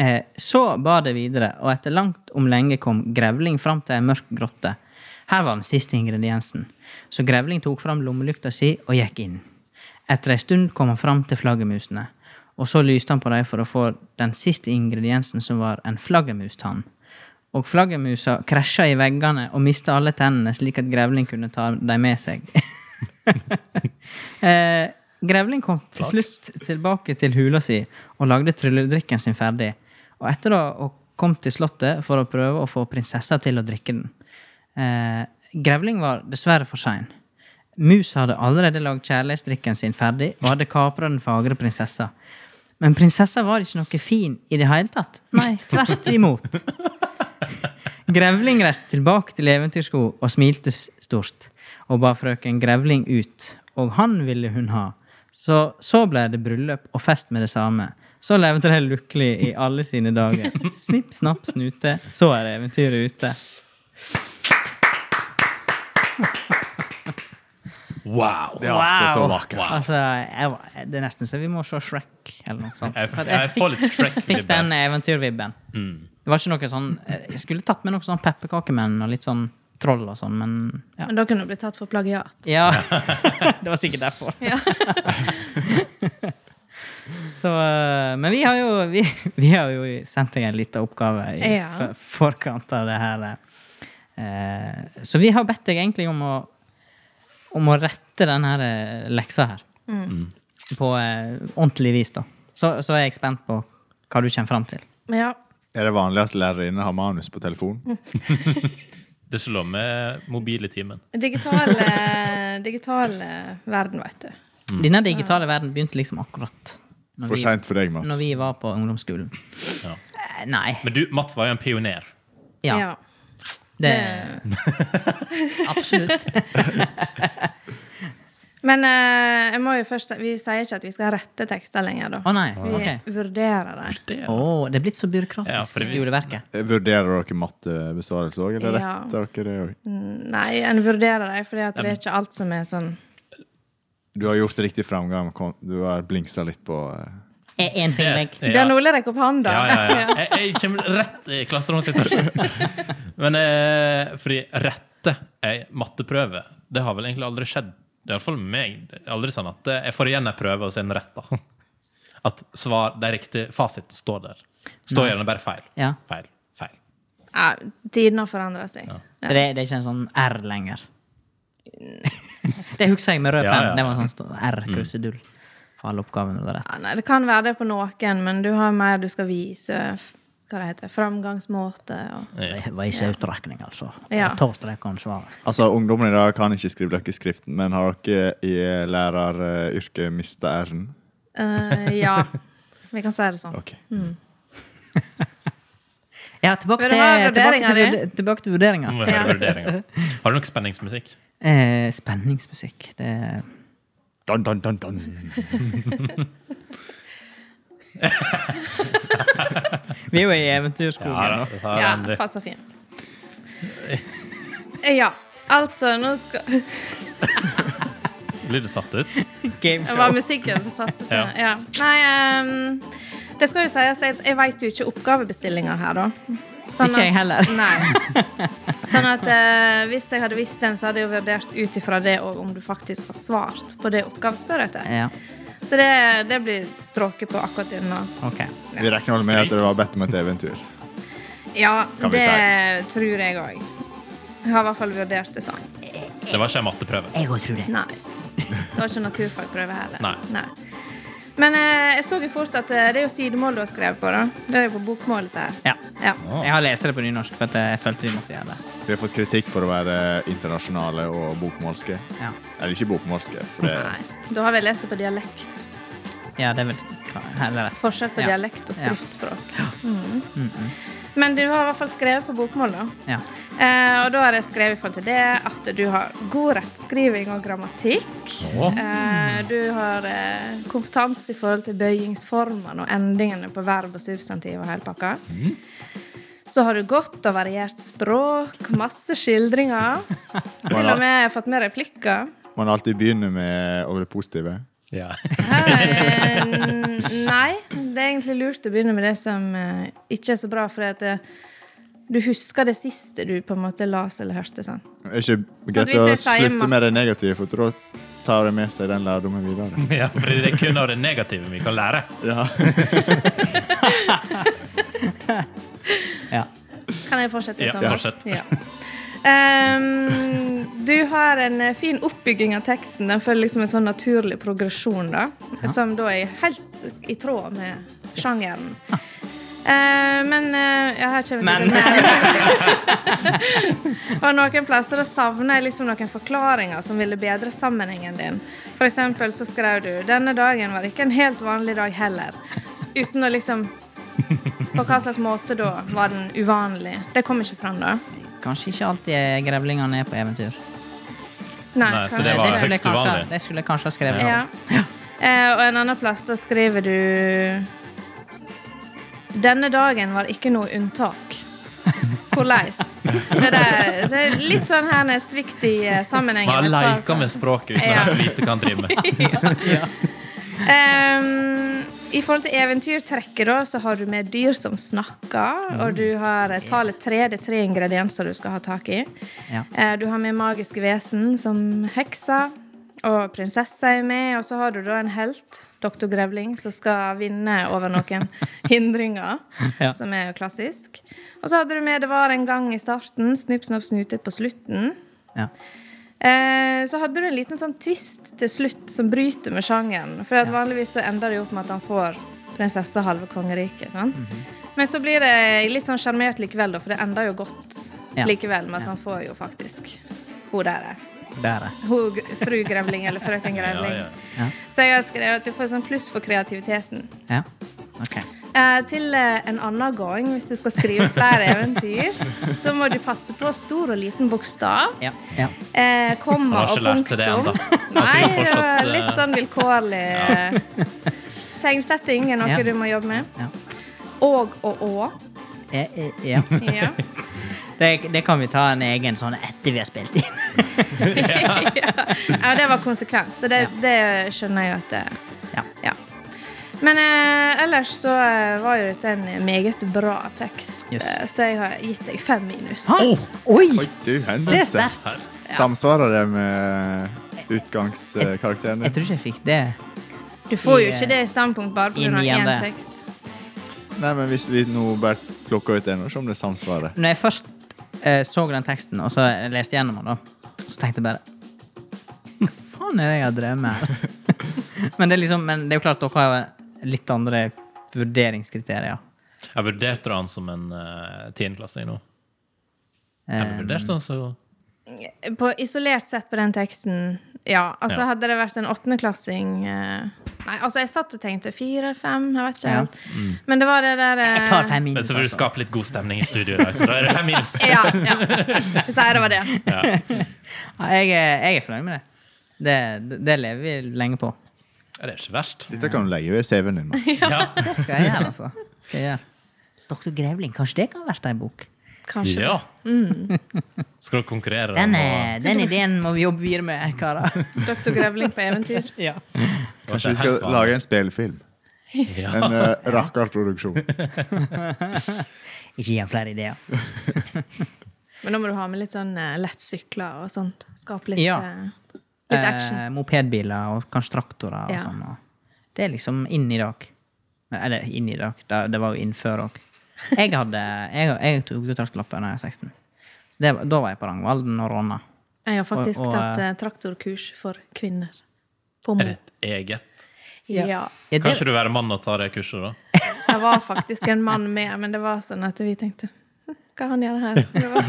Eh, Så bar det videre, og etter langt om lenge kom grevling fram til ei mørk grotte. Her var den siste ingrediensen, så grevling tok fram lommelykta si og gikk inn. Etter ei stund kom han fram til flaggermusene, og så lyste han på dem for å få den siste ingrediensen, som var en flaggermustann. Og flaggermusa krasja i veggene og mista alle tennene, slik at grevling kunne ta dem med seg. Eh, Grevling kom til slutt tilbake til hula si og lagde trylledrikken sin ferdig. Og etter da å kom til slottet for å prøve å få prinsessa til å drikke den. Eh, Grevling var dessverre for sein. Mus hadde allerede lagd kjærlighetsdrikken sin ferdig og hadde kapra den fagre prinsessa. Men prinsessa var ikke noe fin i det hele tatt. Nei, tvert imot. Grevling reiste tilbake til Eventyrsko og smilte s- stort, og ba frøken Grevling ut, og han ville hun ha. Så, så ble det bryllup og fest med det samme. Så levde de lykkelig i alle sine (laughs) dager. Snipp, snapp, snute, så er eventyret ute.
Wow!
Det var altså så
Wow.
vakkert.
Altså, jeg, var- det er nesten så vi må se Shrek eller noe sånt.
Jeg,
For at
jeg
fikk-
får litt
fikk den
Shrek-vibber.
eventyrvibben.
Mm.
Det var ikke noe sånn Jeg skulle tatt med noe sånn pepperkakemenn og litt sånn troll og sånn, men (laughs) ja.
Men da kunne du blitt tatt for plagiat.
(laughs)
Ja. (laughs) det var sikkert derfor.
(laughs)
Så, eh, men vi har jo, vi, (laughs) vi har jo sendt deg en liten oppgave i
Ja.
for- forkant av det her. eh. Så vi har bedt deg egentlig om å, om å rette denne leksa her.
Mm.
På eh, ordentlig vis, da. Så, så er jeg spent på hva du kommer fram til.
Ja.
Er det vanlig at lærerinne har manus på telefon?
Det er så lov med mobil i timen.
Digital, eh, digital eh, verden, vet du.
Mm.
Denne digitale verden begynte liksom akkurat når
For
vi,
seint for deg,
når
Mats.
vi var på ungdomsskolen.
Ja.
Eh, Nei.
Men du, Mats var jo en pioner.
Ja.
Ja.
Det
Eh,
Absolutt.
Men eh, jeg må jo først si vi sier ikke at vi skal rette tekster lenger, da.
Å
(laughs)
nei.
Vi
Ah, ok.
vurderer det.
Å, det er blitt så byråkratisk
Ja, for det
i
visste-
skoleverket.
Eh, Vurderer dere mattebesvarelse òg, eller
Ja.
retter dere det òg?
Nei, en vurderer det, fordi at det er ikke alt som er sånn
Du har gjort riktig framgang. kom- Du har blinksa litt på eh,
Er én ting jeg
Ja.
Bjørn Ole rekker opp hånda.
Ja, ja,
(laughs)
ja. Jeg, jeg kommer rett i klasseromssituasjonen. Men eh, fordi rette ei matteprøve, det har vel egentlig aldri skjedd. Det er iallfall med meg. Det er Aldri sånn at eh, jeg får igjen en prøve, og så er den retta. (laughs) At svar, det er riktig fasit står der. Står gjerne bare feil.
Ja.
Feil. Feil.
Ja, Tidene har forandra seg.
Så det, det er ikke en sånn R lenger. (laughs) det husker jeg med rød
Ja,
penn.
ja. Mm.
Det var en sånn stå- R-krusedull for alle oppgavene. var rett.
Ja, nei, det kan være det på noen, men du har mer du skal vise f- hva det heter, framgangsmåte. Og,
Ja.
Det var ikke utrekning, altså.
Ja.
Tårtrekkonsvaret.
Altså, Ungdommen i dag kan ikke skrive løkkeskriften, men har dere i læreryrket mista r-en?
Eh, ja, vi kan si det sånn.
Ok.
Ja, tilbake
Vil
til,
du ha
tilbake til,
vurderinger,
vurd- tilbake til vurderinga.
Nå må jeg
Ja.
høre vurderinger. Har du nok spenningsmusikk?
Eh, spenningsmusikk. Det er
Dun, dun, dun, dun.
Vi er jo i eventyrskogen.
Ja,
(laughs)
da,
nå.
det har
Ja,
jeg aldri.
passer fint. Ja, altså, nå skal
Blir det satt ut?
Det var
Gameshow.
musikken som passet til.
Ja.
Ja. Nei, ehm, det skal jo sies, jeg, jeg veit jo ikke oppgavebestillinga her, da. Sånn
Ikke jeg heller. (laughs)
Nei. Sånn at eh, hvis jeg hadde visst den, så hadde jeg jo vurdert ut ifra det og om du faktisk har svart på det oppgavespøret etter.
Ja,
Så det, det blir stråket på akkurat denne.
ok.
Vi regner vel med at det var bedt om et eventyr.
Ja,
Kan vi
det tror jeg òg. Jeg har i hvert fall vurdert det sånn.
Det var ikke en matteprøve.
Jeg òg tror det.
Nei. Det var ikke naturfagprøve heller.
Nei.
Men eh, jeg så jo fort at eh, det er jo sidemål du har skrevet på. da. Det er jo på bokmålet der.
Ja.
Ja.
Jeg har lest det på nynorsk, for at jeg følte vi måtte gjøre det.
Vi har fått kritikk for å være internasjonale og bokmålske.
Ja,
Eller ikke bokmålske, for det
Nei. Da har vi lest det på dialekt.
ja det er vel heller rett. (gasps)
Forskjell på
Ja.
dialekt og
Ja.
skriftspråk. Mm. Men du har i hvert fall skrevet på bokmål, da.
Ja.
Eh, og da har jeg skrevet i forhold til det at du har god rettskriving og grammatikk.
Å.
Eh, du har eh, kompetanse i forhold til bøyingsformene og endingene på verb og substantiv og hele pakka. Så har du godt og variert språk, masse skildringer. Til og med fått med replikker.
man alltid begynner med over det positive.
Ja. (laughs)
Eh, n- nei, det er egentlig lurt å begynne med det som eh, ikke er så bra, fordi at eh, du husker det siste du på en måte las eller hørte. sant?
Er ikke greit
hvis
å
jeg sier
slutte med det negative, for da tar det med seg den lærdommen videre.
(laughs) ja, fordi det er kun av det negative vi kan lære.
Ja.
Ja.
Kan jeg fortsette?
Ja,
Thomas?
fortsett.
Ja. Ehm, du har en eh, fin oppbygging av teksten. Den følger liksom en sånn naturlig progresjon, da. Som da er helt i tråd med sjangeren. Eh, men eh, ja, her kommer
Men.
det men. Og noen plasser da savner jeg liksom noen forklaringer som ville bedre sammenhengen din. For eksempel så skrev du 'Denne dagen var ikke en helt vanlig dag heller'. Uten å liksom På hva slags måte da var den uvanlig? Det kom ikke fram, da.
Kanskje ikke alltid grevlingene er på eventyr.
Nei,
Nei, så
kanskje
det var altså
det, skulle jeg
høyst
kanskje,
uvanlig.
det skulle jeg kanskje ha skrevet.
Ja. Eh, og en annen plass så skriver du Denne dagen var ikke noe unntak. Hvordan? Det der- så det er litt sånn her når svikt i eh, sammenhengen.
Bare
Et par-
leker med språket uten
Ja.
å vite hva han driver med.
Ehm, I forhold til eventyrtrekket da, så har du med dyr som snakker, og du har eh, tallet tre. Det er tre ingredienser du skal ha tak i.
Ja.
Eh, Du har med magiske vesen som hekser, og prinsessa er med, og så har du da en helt, doktor Grevling, som skal vinne over
(laughs)
noen hindringer,
Ja.
som er jo klassisk. Og så hadde du med Det var en gang i starten, Snipp, snapp, snute på slutten.
Ja.
Eh, så hadde du en liten sånn twist til slutt som bryter med sjangeren. For at vanligvis så ender det jo opp med at han får prinsesse og halve kongeriket. sant?
Mhm.
Men så blir det litt sånn sjarmert likevel, da, for det ender jo godt
Ja.
likevel med at han får jo faktisk hun der. er.
Der, ja.
Hun g- fru Grevling eller frøken Grevling.
Ja, ja.
Ja.
Så jeg har skrevet at du får sånn pluss for kreativiteten.
ja. Ok.
Eh, til eh, en annen gang, hvis du skal skrive flere
(laughs)
eventyr, så må du passe på stor og liten bokstav.
Ja. ja.
Eh, komma
Han har
og
ikke lært seg det
punktum.
ennå.
(laughs)
Han
Nei,
sier jo
det var
fortsatt, eh,
litt sånn vilkårlig eh, tegnsetting er noe
Ja.
du må jobbe med.
Ja.
Og og å.
Eh, eh, ja.
(laughs)
Ja.
Det, det kan vi ta en egen sånn etter vi har spilt inn.
(laughs) ja, det var konsekvent, så det, det skjønner jeg at eh,
Ja.
Ja. Men eh, ellers så eh, var jo dette en meget bra tekst,
Yes.
eh, så jeg har gitt deg fem minus.
Hæ?
Oh!
Oi!
Oi, du,
Det er
hendelse.
sterkt.
Samsvarer det med
Jeg
utgangskarakteren din?
tror ikke jeg fikk det.
Du får jo
I, eh,
ikke det i standpunkt bare
i
pga. én
niende.
tekst.
Nei, men hvis vi nå bare plukker ut en, og ser om det samsvarer.
Når jeg først eh, så den teksten, og så leste gjennom den, da, så tenkte jeg bare Hva faen er det jeg har drevet med? (laughs) her?» men, det er liksom, men det er jo klart, dere har jo litt andre vurderingskriterier.
Jeg vurderte han som en eh, tiendeklassing nå. Jeg
Eh,
vurderte han så
På, isolert sett på den teksten, ja. Altså
Ja.
Hadde det vært en åttendeklassing eh, Nei, altså jeg satt og tenkte fire, fem, jeg vet ikke
Ja.
helt. Men det var det der eh,
jeg tar fem
Men
minus,
så vil du
altså.
skape litt god stemning i studio i dag, så da er det fem
(laughs)
minus.
Ja, ja. Jeg sier det var det.
(laughs) altså. Ja, jeg, er- jeg er fornøyd med det. det. det- Det lever vi lenge på.
Ja, Det er ikke verst.
Dette kan du legge ved CV-en din. Mats.
Ja.
Det skal jeg gjøre, (laughs) altså. Skal jeg gjøre. Doktor Grevling, kanskje det kan ha vært ei bok?
Kanskje.
ja. Skal dere konkurrere?
Den,
om å-
eh, den ideen må vi jobbe videre med, karer.
Doktor Grevling på eventyr.
(laughs) Ja.
Kanskje vi skal lage en spillefilm?
Ja.
En uh, rakkerproduksjon.
Ikke gi ham flere ideer.
Men nå må du ha med litt sånn eh, lett sykler og sånt. Skape litt,
Ja.
eh, litt action.
Eh, mopedbiler og kanskje traktorer og
Ja.
sånn. Og det er liksom inn i dag. Eller inn i dag, det, det var jo inn før òg. Jeg, hadde, jeg, jeg tok jo traktorlappen da jeg var 16. Så Det, var- da var jeg på Rangvalden og råna.
Jeg har faktisk
og- og,
tatt
eh,
eh, traktorkurs for kvinner. På
Er
Mo.
det et eget?
Ja.
Ja.
Ja, det-
Kan ikke du være mann og ta det kurset, da?
Det var faktisk en mann med, men det var sånn at vi tenkte "Hm, Hva han
(laughs)
gjør her? Det var,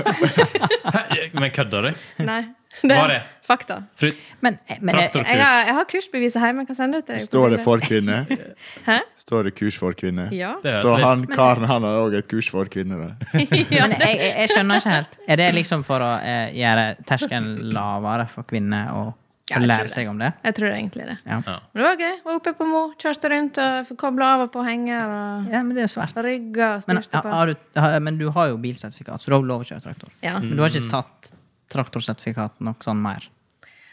Hæ? Men kødder du?
nei. (laughs)
Var det?
fakta.
Fru-
men, eh, men jeg,
Traktor-
Jeg har, jeg har kursbeviset hjemme. Jeg kan sende det til deg. på
Står det
bildet.
for
(laughs)
kvinner?
Hæ?
Står det kurs for kvinner?
Ja.
Det er
Så
litt-
han karen han har òg et kurs for kvinner. da.
ja.
men jeg, jeg, jeg skjønner ikke helt. Er det liksom for å eh, gjøre terskelen lavere for kvinner å
Ja,
å
jeg tror
lære
det.
seg om det?
Jeg tror egentlig det.
Ja.
Ja.
Men det var gøy. Var oppe på Mo, kjørte rundt og fikk kobla av og på henger og
ja, men det er jo svært.
rygga og
Men,
styrte på.
har du, har, men du har jo bilsertifikat, så du har jo lov å kjøre traktor.
Ja.
Mm.
Men du har ikke tatt traktorsertifikat nok sånn mer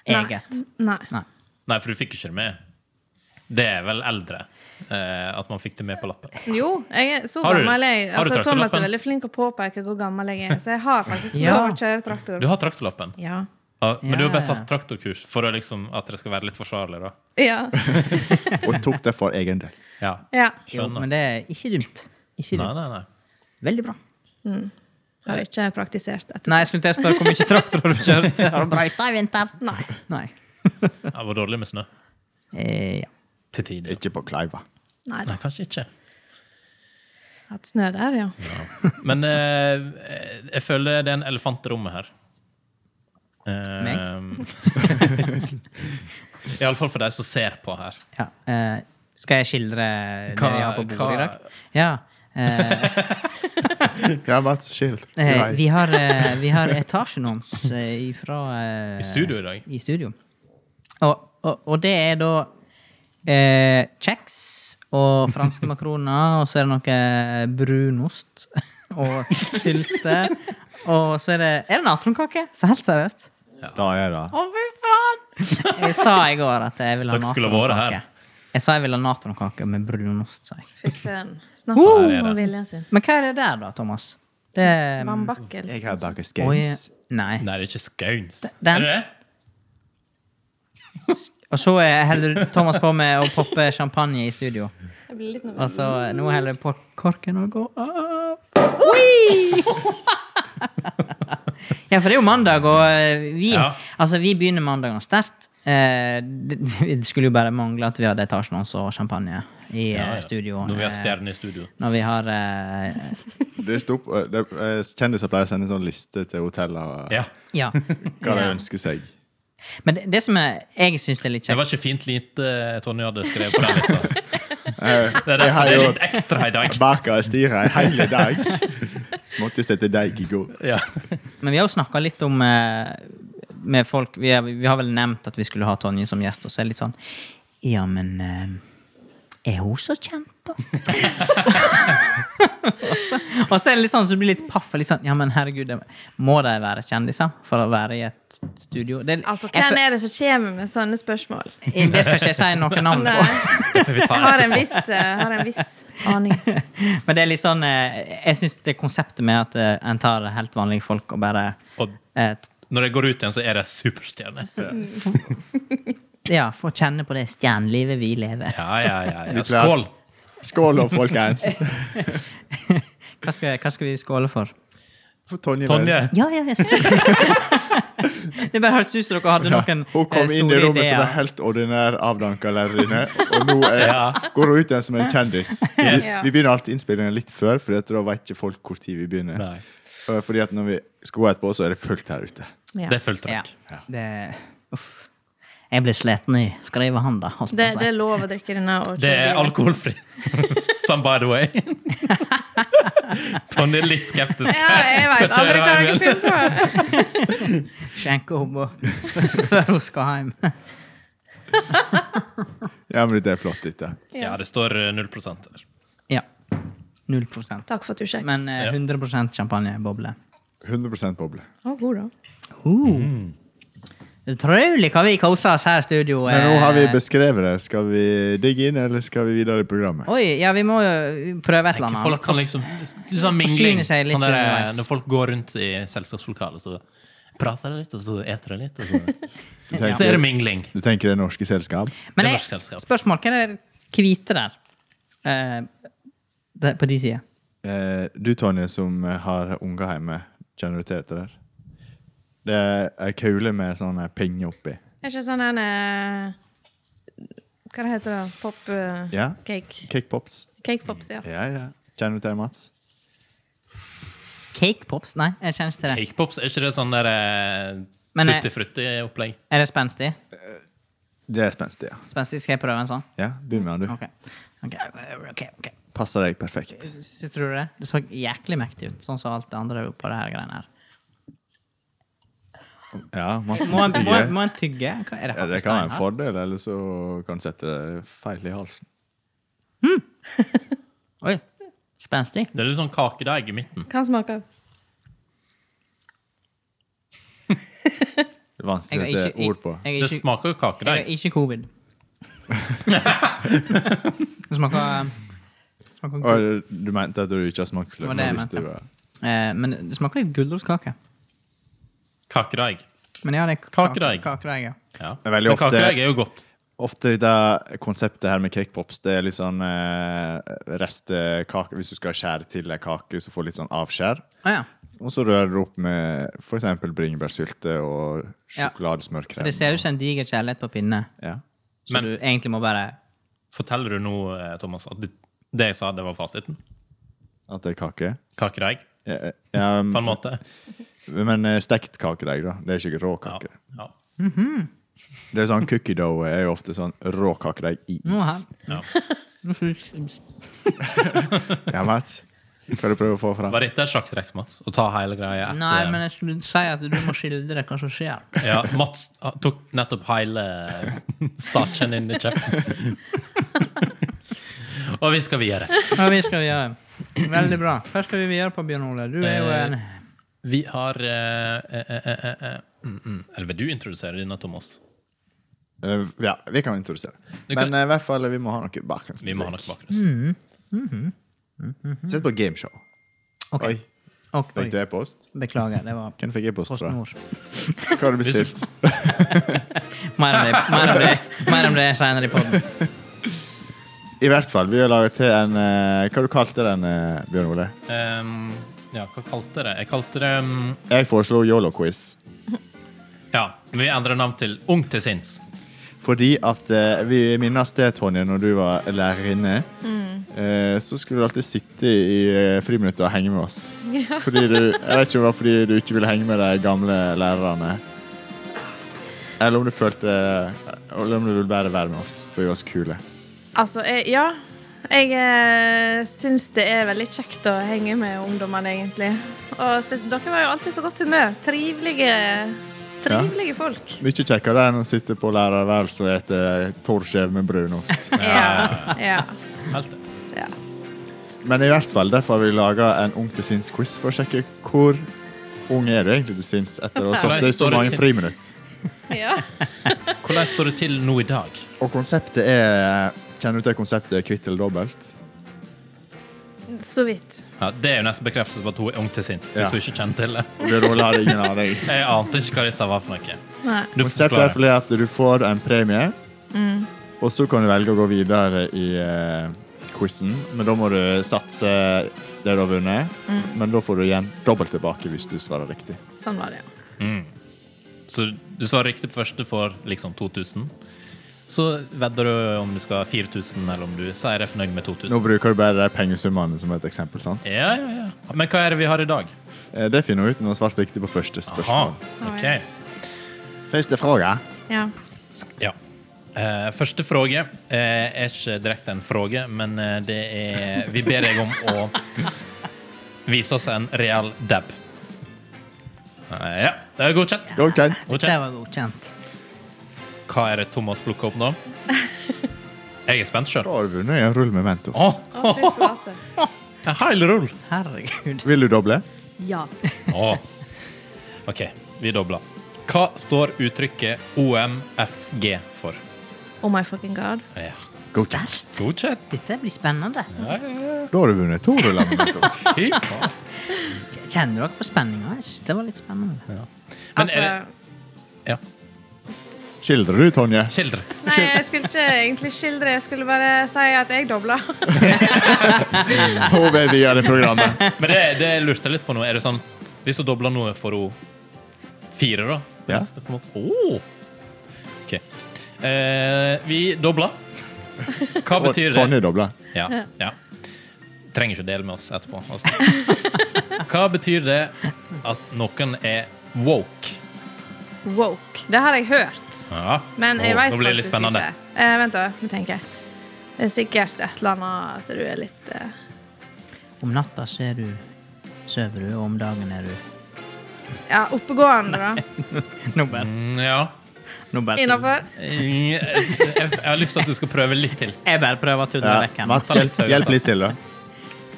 eget?
Nei.
Nei.
Nei, for du fikk ikke det med. Det er vel eldre eh, at man fikk det med på lappen.
Jo, jeg er så
Har du-
gammel jeg
har du
altså, Thomas er
traktorlappen?
veldig flink til å påpeke hvor gammel jeg er, så jeg har faktisk
Ja.
lov å kjøre traktor.
Du har traktorlappen,
Ja.
ja, men du har bare
Ja, ja.
tatt traktorkurs for å liksom, at det skal være litt forsvarlig, da.
Ja.
Og tok det for egen del.
Ja.
ja.
Jo,
Skjønner.
men det er ikke dumt. Ikke
Nei,
dumt.
nei, nei.
Veldig bra.
Har ikke praktisert etterpå.
Nei, jeg skulle til å spørre hvor mye traktor har du kjørt?
(laughs)
Har du brøyta i vinter?
Nei.
Nei.
Det var dårlig med snø.
Eh, ja.
Til tider.
Ikke på Kleiva.
Nei da.
Nei, kanskje ikke.
Hatt snø der, ja.
Men eh, jeg føler det er en elefant i rommet her. Eh, (laughs) Iallfall for de som ser på her.
ja. Eh, skal jeg skildre det
Hva-
vi har på bordet
hva-
i dag? Ja. Eh,
Ja, bare chill.
eh,
Nei.
vi, har, eh, vi har etasjenons eh, fra eh,
I studio i dag.
i studio. Og, og, og det er da eh, kjeks og
(laughs)
franske makroner, og så er det noe eh, brunost (laughs) og sylte. Og så er det Er det natronkake? Så helt seriøst.
Da er det
Å, fy faen! Jeg sa i går at jeg ville ha
Dere skulle vært her.
natronkake. Jeg sa jeg ville ha natronkake med brunost, sa jeg.
Fy søren. Snakk om
Her er det.
viljen sin.
Men hva er det der, da, Thomas? Det
Vannbakkels.
Jeg har baka
Oi,
skates.
Nei.
Nei, det er ikke scones.
Den-
Er det det?
Og så eh, holder Thomas på med å poppe champagne i studio.
Jeg blir litt nervøs.
Og så eh, nå holder jeg på korken å gå av. ja, for det er jo mandag, og eh, vi,
Ja.
altså, vi begynner mandagen sterkt. Eh, det, det skulle jo bare mangle at vi hadde etasjen også og champagne i
Ja, ja.
eh, studio.
Når vi har
eh,
stjerne i studio.
når vi har eh,
Det sto på, det, eh, kjendiser pleier å sende en sånn liste til hoteller
Ja.
Ja.
hva de ønsker seg.
Men det, det som er, jeg syns det er litt
Det
kjekt
var ikke fint lite eh, Tonje hadde skrevet på den
(laughs)
lista. Det er
Eh, Jeg
derfor
har
det er
jo
litt ekstra i
(laughs)
dag.
baka styret en hel
(laughs)
dag. Måtte sette deig i går.
Ja.
Men vi har jo snakka litt om eh, med folk vi, er, vi har vel nevnt at vi skulle ha Tonje som gjest, og så er det litt sånn Ja, men eh, er hun så kjent, da? (laughs) og, så, og så er det litt sånn, så du blir litt paff. og Litt sånn, ja, men herregud, det- må de være kjendiser for å være i et studio? Det,
Altså,
jeg,
hvem er det som kommer med sånne
(laughs)
spørsmål?
føl- det skal ikke jeg si noe navn
Nei.
på.
Det får vi ta
Jeg har en
etterpå.
viss, eh, har en viss (laughs) aning.
(laughs) Men det er litt sånn eh, Jeg syns det konseptet med at eh, en tar helt vanlige folk og bare
Og
eh, t-
når jeg går ut igjen, så er det superstjerne. Mm.
Ja, får kjenne på det stjernelivet vi lever.
Ja, ja, ja, ja.
Vi pleier-
Skål!
Skål, og
(laughs)
folkens!
Hva skal, hva skal vi skåle for?
For Tonje.
Tonje.
Ja, ja, jeg selvfølgelig. (laughs) det bare hørtes ut som dere hadde noen
Hun
eh,
kom inn i
store
rommet som en
ideer.
helt ordinær avdanka lærerinne, og nå er, går hun ut igjen som en
(laughs)
kjendis. Vi,
Ja.
vi begynner alltid innspillingen litt før, for da vet ikke folk hvor tid vi begynner.
Nei.
Eh, Fordi at når vi skal gå etterpå, så er det fullt her ute.
Ja.
Det er fullt
Ja,
trøkk.
det, uff. Jeg ble sliten i skrivehanda. holdt
Det,
jeg på å
det
si.
er lov å drikke denne. Og
altså. Det er (laughs) alkoholfri. Sånn by (laughs) the way. Tonje er litt skeptisk.
(laughs) Ja, jeg
Skal
veit aldri
kjøre
hva
hjem
jeg finner på.
Skjenke henne og- (laughs) før hun skal hjem. (laughs)
Ja, men det er flott, dette.
Ja, det står eh, 0 her.
Ja. Null prosent.
(laughs) Takk for at du sjekket.
Men eh,
Ja.
100 champagneboble.
100 boble.
Å, god da.
Mm.
Uh. Utrolig hva vi koser oss her i studio.
Men nå har vi
eh.
beskrevet det. Skal vi digge inn, eller skal vi videre i programmet?
Oi, ja, vi må jo prøve et eller annet.
Folk kan liksom litt sånn mingling.
Forsyne seg litt
Sånn der, eh,
underveis.
når folk går rundt i selskapslokalet, så prater de litt, og så eter de litt. Og
(laughs)
så.
Du
så er
tenker,
det mingling.
du tenker det norske selskap?
Det
Men
er
jeg,
norsk selskap.
spørsmål, hva er det hvite der? Eh, der på de sida?
Eh, du, Tonje, som har unger hjemme, kjenner du til dette der? Det er ei kule med sånn eh, pinne oppi.
Er ikke sånn en eh, Hva det heter det? Pop eh,
Ja.
cake.
Cakepops.
Cake pops, ja.
Ja, ja. Kjenner du til Mats?
Cake pops? Nei, jeg kjenner ikke til det.
Cake pops, er ikke det sånn der eh,
Men, eh,
tutti-frutti-opplegg?
Er det spenstig?
Det er spenstig, ja.
Spenstig skal jeg prøve en sånn?
Ja, Begynn med den, du.
Ok. Ok, ok, ok.
Passer deg perfekt.
Syns du det? Det så jæklig mektig ut, sånn som alt det andre på det her greiene her.
Ja, Mats
Må en, må en,
digger.
må en tygge? Hva er det
Ja, det kan være en fordel, eller så kan du sette det feil i halsen.
Oi. Spenstig.
Det er litt sånn kakedeig i midten.
Kan smake av.
Det er
Jeg
vanskelig å
har
sette
ikke,
ord på.
jeg,
Det
jeg, jeg,
smaker jo
jeg har
kakedeig.
ikke covid.
(laughs)
Det smaker, smaker
Og
gul,
du mente at du ikke har smakt
Det var
fløte?
det jeg
men hvis du
mente.
var-
eh, men det smaker litt gulrotkake.
Kakedeig.
Men ja, det er
Kakedeig.
kakedeig, ja.
Ja.
Men veldig ofte-
kakedeig er jo godt.
Ofte det konseptet her med cakepops, det er litt sånn eh, restekake Hvis du skal skjære til ei kake, så får du litt sånn avskjær.
Ah, ja.
Og så rører du opp med f.eks. bringebærsylte og
Ja.
sjokoladesmørkrem.
For det ser ut som en diger kjærlighet på pinne,
Ja.
så
Men-
du egentlig må bare
Forteller du nå, eh, Thomas, at det, det jeg sa, det var fasiten?
At det er kake.
Kakedeig,
Ja, ja,
på en måte?
men eh, stekt kakedeig, da. Det er ikke rå
Ja.
kake.
ja.
Det er sånn Cookie dough er jo ofte sånn rå kakedeig i
Nå
is.
her.
ja.
Nå synes-
Ja, Mats. Hva du prøver å få fram?
Var dette et sjakktrekk, Mats? Å ta hele greia etter
Nei, men jeg skulle si at du må skildre hva som skjer.
ja, Mats ah, tok nettopp hele eh, starchen inn i kjeften.
(laughs)
Og vi skal videre.
Ja, vi skal videre. Veldig bra. Hva skal vi videre på, Bjørn Ole? Du er jo en
Vi har eh, eh, eh, eh, eh, mm, mm. Eller vil du introdusere denne, Thomas?
Eh, ja, vi kan introdusere.
Du
Men
kan-
eh, i hvert fall, vi må ha noe
Vi må ha noe
bakgrunnsmusikk.
bakgrunn.
Mm.
Sitt på gameshow.
Ok.
Oi,
Ok,
fikk du
oi.
e-post?
Beklager, det var
Hvem fikk e-post fra?
PostNord.
Hva har du bestilt?
Mer om det, mer om det, mer om det senere i podden.
I hvert fall, vi har laget til en eh, Hva du kalte den, eh, Bjørn Ole?
Ehm, ja, hva kalte jeg det? Jeg kalte det mm,
Jeg foreslo yolo-quiz.
Ja, vi endrer navn til Ung til sinns.
Fordi at eh, vi minnes det, Tonje, når du var lærerinne. eh, så skulle du alltid sitte i eh, friminuttet og henge med oss. Fordi du, jeg vet ikke om det var fordi du ikke ville henge med de gamle lærerne. Eller om du følte Eller om du ville bare være med oss, for vi var så kule.
Altså, jeg, ja. Jeg eh, syns det er veldig kjekt å henge med ungdommene, egentlig. Og spes- dere var jo alltid så godt humør. Trivelige, trivelige folk.
Mye kjekkere enn å sitte på lærerværelset og ete torskjev med
(laughs)
brunost.
Ja. ja,
Helt det.
ja.
Men i hvert fall, derfor har vi laga en Ung til sinns-quiz for å sjekke hvor ung er du egentlig til sinns etter å ha
Hvordan
sittet i så
står det
mange
til?
friminutt.
ja.
Hvordan står det til nå i dag?
Og konseptet er Kjenner du til konseptet kvitt eller dobbelt?
Så vidt.
Ja, det er jo nesten bekreftelse på at hun er ung til sinns.
Ja.
Hvis hun ikke kjenner til det.
Det rådet har ingen aning.
Jeg ante ikke hva dette var for noe.
Nei.
(laughs) Du
Konseptet er fordi at du får en premie, og så kan du velge å gå videre i eh, quizen. Men da må du satse det du har vunnet, men da får du igjen dobbelt tilbake hvis du svarer riktig.
Sånn var det, ja.
Så du sa riktig på første for liksom 2000. Så vedder du om du skal ha 4000, eller om du sier er fornøyd med 2000.
Nå bruker du bare de pengesummene som et eksempel, sant?
Ja, ja, ja. Men hva er det vi har i dag?
Eh, Det finner du ut når du har svart riktig på første
Aha,
spørsmål.
ok.
Første fråga.
ja.
Sk- Ja. Eh, første fråge eh, er ikke direkte en fråge, men eh, det er Vi ber deg om å vise oss en real dab. Eh, ja, det er godkjent.
Godkjent.
Det var godkjent.
Hva er det Thomas plukker opp nå? Jeg er spent sjøl.
Da har du vunnet en rull med Mentos.
Oh,
Å, fy flate.
en hel rull!
Herregud.
Vil du doble?
Ja.
Åh. OK, vi dobler. Hva står uttrykket OMFG for?
Oh my fucking god.
Ja.
Sterkt.
Godkjent.
Dette blir spennende.
Ja, ja, ja.
Da har du vunnet to ruller med Mentos.
Fy faen.
Kjenner dere på spenninga? Jeg synes det var litt spennende.
Men
Altså
er det Ja,
Skildrer du, Tonje?
(laughs) skildre.
Nei, jeg skulle ikke egentlig skildre, jeg skulle bare si at jeg dobla.
Hun vil videre i programmet.
Men det, det lurte jeg litt på nå. Er det sånn Hvis du dobler noe, får hun fire, da?
Ja.
Neste på en måte. Åh. OK. Eh, vi dobler. Hva betyr det?
Tonje dobler.
Ja, ja. Trenger ikke å dele med oss etterpå. Altså.
(laughs)
Hva betyr det at noen er woke?
Woke. Det har jeg hørt.
Ja.
Men jeg
Åh,
vet
nå blir det litt
faktisk
spennende.
ikke. Eh, vent da, nå tenker jeg. Det er sikkert et eller annet at du er litt eh,
Om natta så er du Sover du, og om dagen er du
ja, oppegående, da.
Nå bare,
Mm, ja.
nå bare
(laughs) Innafor.
Jeg, jeg, jeg har lyst til at du skal prøve litt til.
Jeg bare prøver å tulle
Ja.
vekk henne.
Mats, hjelp, hjelp litt til, da.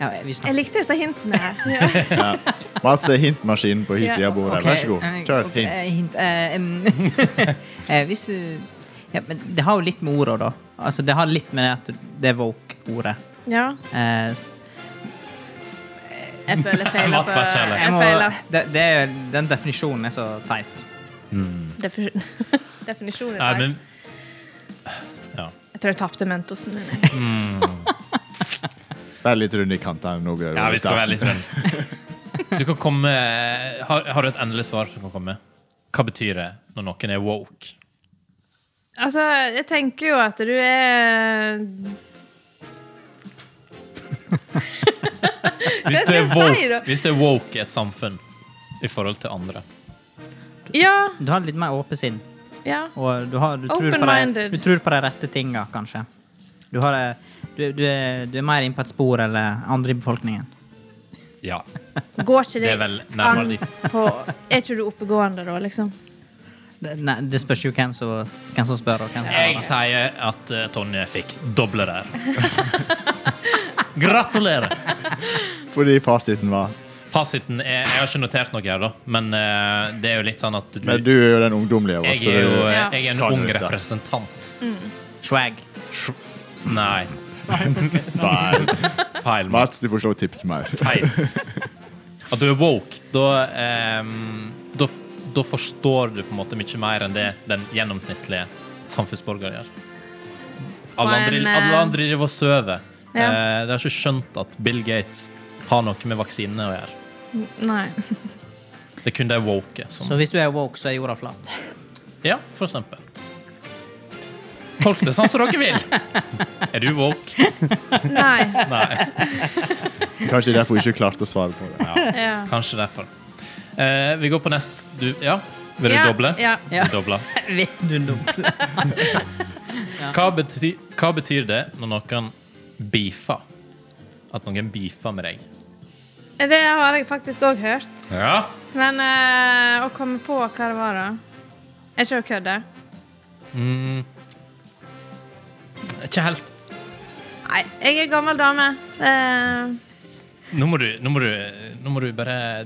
Ja, vi snakker.
Jeg likte disse hintene her. Ja.
Mats er hintmaskinen på hi
Ja,
siden av bordet.
Ok,
Vær så god.
eh,
Kjør
ok, eh,
hint.
eh, em, (laughs) eh, hvis du ja, men Det har jo litt med orda, da. Altså, det har litt med det at det er woke-ordet.
ja.
Eh, s-
Jeg føler feil
Mats
på
var kjærlig.
jeg
Jeg
må,
feiler.
det, det er, den definisjonen er så teit.
Defi- (laughs) Definisjonen
Nei,
er feil.
men Ja.
Jeg tror jeg tapte mentosen min. jeg.
Vær litt rundt i kantene nå. Bjørn.
ja vi skal være litt rundt. (laughs) Du kan komme eh, har, har du et endelig svar som kan komme? Hva betyr det når noen er woke?
Altså, jeg tenker jo at du er
Hvis du
Hva
er
skal jeg si
woke,
da?
hvis du er woke i et samfunn i forhold til andre
Ja.
Du har litt mer åpent sinn,
ja.
og du, har, du, tror på de,
Open-minded.
du tror på de rette tinga, kanskje. Du, har, eh, du, du, er, du er mer inne på et spor eller andre i befolkningen.
Ja.
Går ikke det,
Det er vel nærmere dit.
på Er ikke du oppegående da, liksom?
Det, nei, det spørs jo hvem som, hvem som spør. og hvem som
Jeg sier at eh, Tonje fikk doble der. (laughs) Gratulerer!
Fordi fasiten var
Fasiten er Jeg har ikke notert noe her, da, men eh, det er jo litt sånn at du
Men du er jo den ungdommelige av oss.
Jeg er jo
så
eh,
Ja.
jeg er en
Klar,
ung
du vet det.
representant.
Swag.
Nei.
det er feil.
Feil. Mats.
Mats, du får slå tips mer.
Feil. At du er woke, da, ehm, da Da forstår du på en måte mye mer enn det den gjennomsnittlige samfunnsborger gjør. Alle
Og
andre,
en, eh,
alle andre driver og sover.
Ja.
Eh, De har ikke skjønt at Bill Gates har noe med vaksinene å gjøre.
Nei.
Det er kun de woke som
Så hvis du er woke, så er jorda
(laughs)
flat.
Ja, for eksempel. Tolk det sånn som dere
(laughs)
vil. Er du woke?
Nei.
Nei.
Kanskje derfor hun ikke klarte å svare på det.
Ja.
Kanskje derfor. Eh, vi går på neste du, Ja, vil du
Ja,
doble?
ja.
Ja.
Du dobler.
Vet du noe?
Hva, bety, hva betyr det når noen beefer? At noen beefer med deg?
Det har jeg faktisk òg hørt.
Ja.
Men eh, å komme på hva det var, da Er ikke det å kødde?
Mm. Ikke helt.
Nei, jeg er gammel dame. Eh,
Nå må du, nå må du, nå må du bare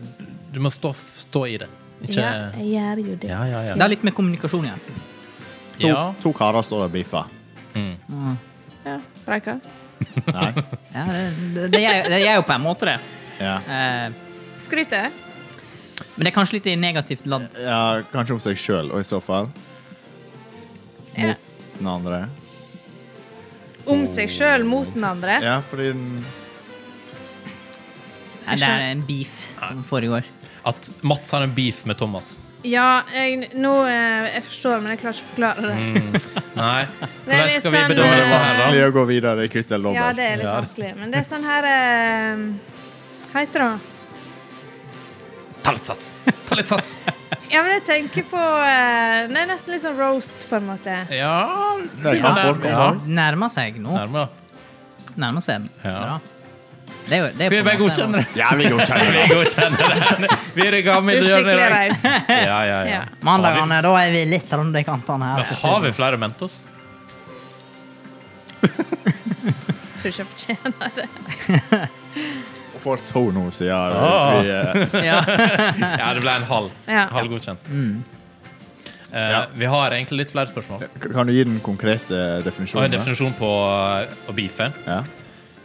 Du må stå, stå i det. Ikke
ja, jeg gjør jo det.
Ja, ja, ja.
Det har litt med kommunikasjon igjen.
To,
ja.
to karer står og beefer.
Ja, Breika.
Nei?
Ja, det, det, er, det er jo på en måte det.
Ja.
Eh,
Skryter?
men det er kanskje litt i negativt ladd.
ja, kanskje om seg sjøl, og i så fall
Ja.
den andre.
Om seg sjøl mot den andre?
Ja, fordi den
Nei, Det er en beef som foregår.
At Mats har en beef med Thomas.
Ja, jeg, nå eh, Jeg forstår, men jeg klarer ikke å forklare det.
Nei.
Det er
Hvordan
litt
skal vi
sånn,
bedømme
eh,
dette her,
vanskelig å gå videre i kvitt eller
Ja, det er
dobbelt.
litt
Ja.
vanskelig. Men det er sånn her eh, Hva heter det?
da? Ta litt sats. Ta litt
(laughs)
sats.
Ja, men jeg tenker på eh, Det er nesten litt sånn roast, på en måte.
Ja,
Det kan folk om
Ja.
òg.
Nærmer seg nå.
Nærmere.
Nærmer seg bra.
Ja.
Det er jo, det
Skal
er
vi
på en
bare
måte-
godkjenne det?
Ja, vi godkjenner det.
Vi godkjenner det. Vi er i gang
Du
med
er
å gjøre det. i
skikkelig
dag.
raus.
Ja,
(laughs)
ja, ja.
Ja.
Mandagene, da er vi litt rundt i kantene her. på
Har
studio.
vi flere Mentos?
Tror ikke jeg fortjener det.
(laughs) Og får to nå, siden
Ah.
vi eh,
Ja, det ble en halv.
Ja.
Halv godkjent. Eh,
Ja.
Vi har egentlig litt flere spørsmål.
eh, Kan du gi den konkrete eh,
Og en
definisjonen? da?
definisjon på eh, å beefe.
Ja.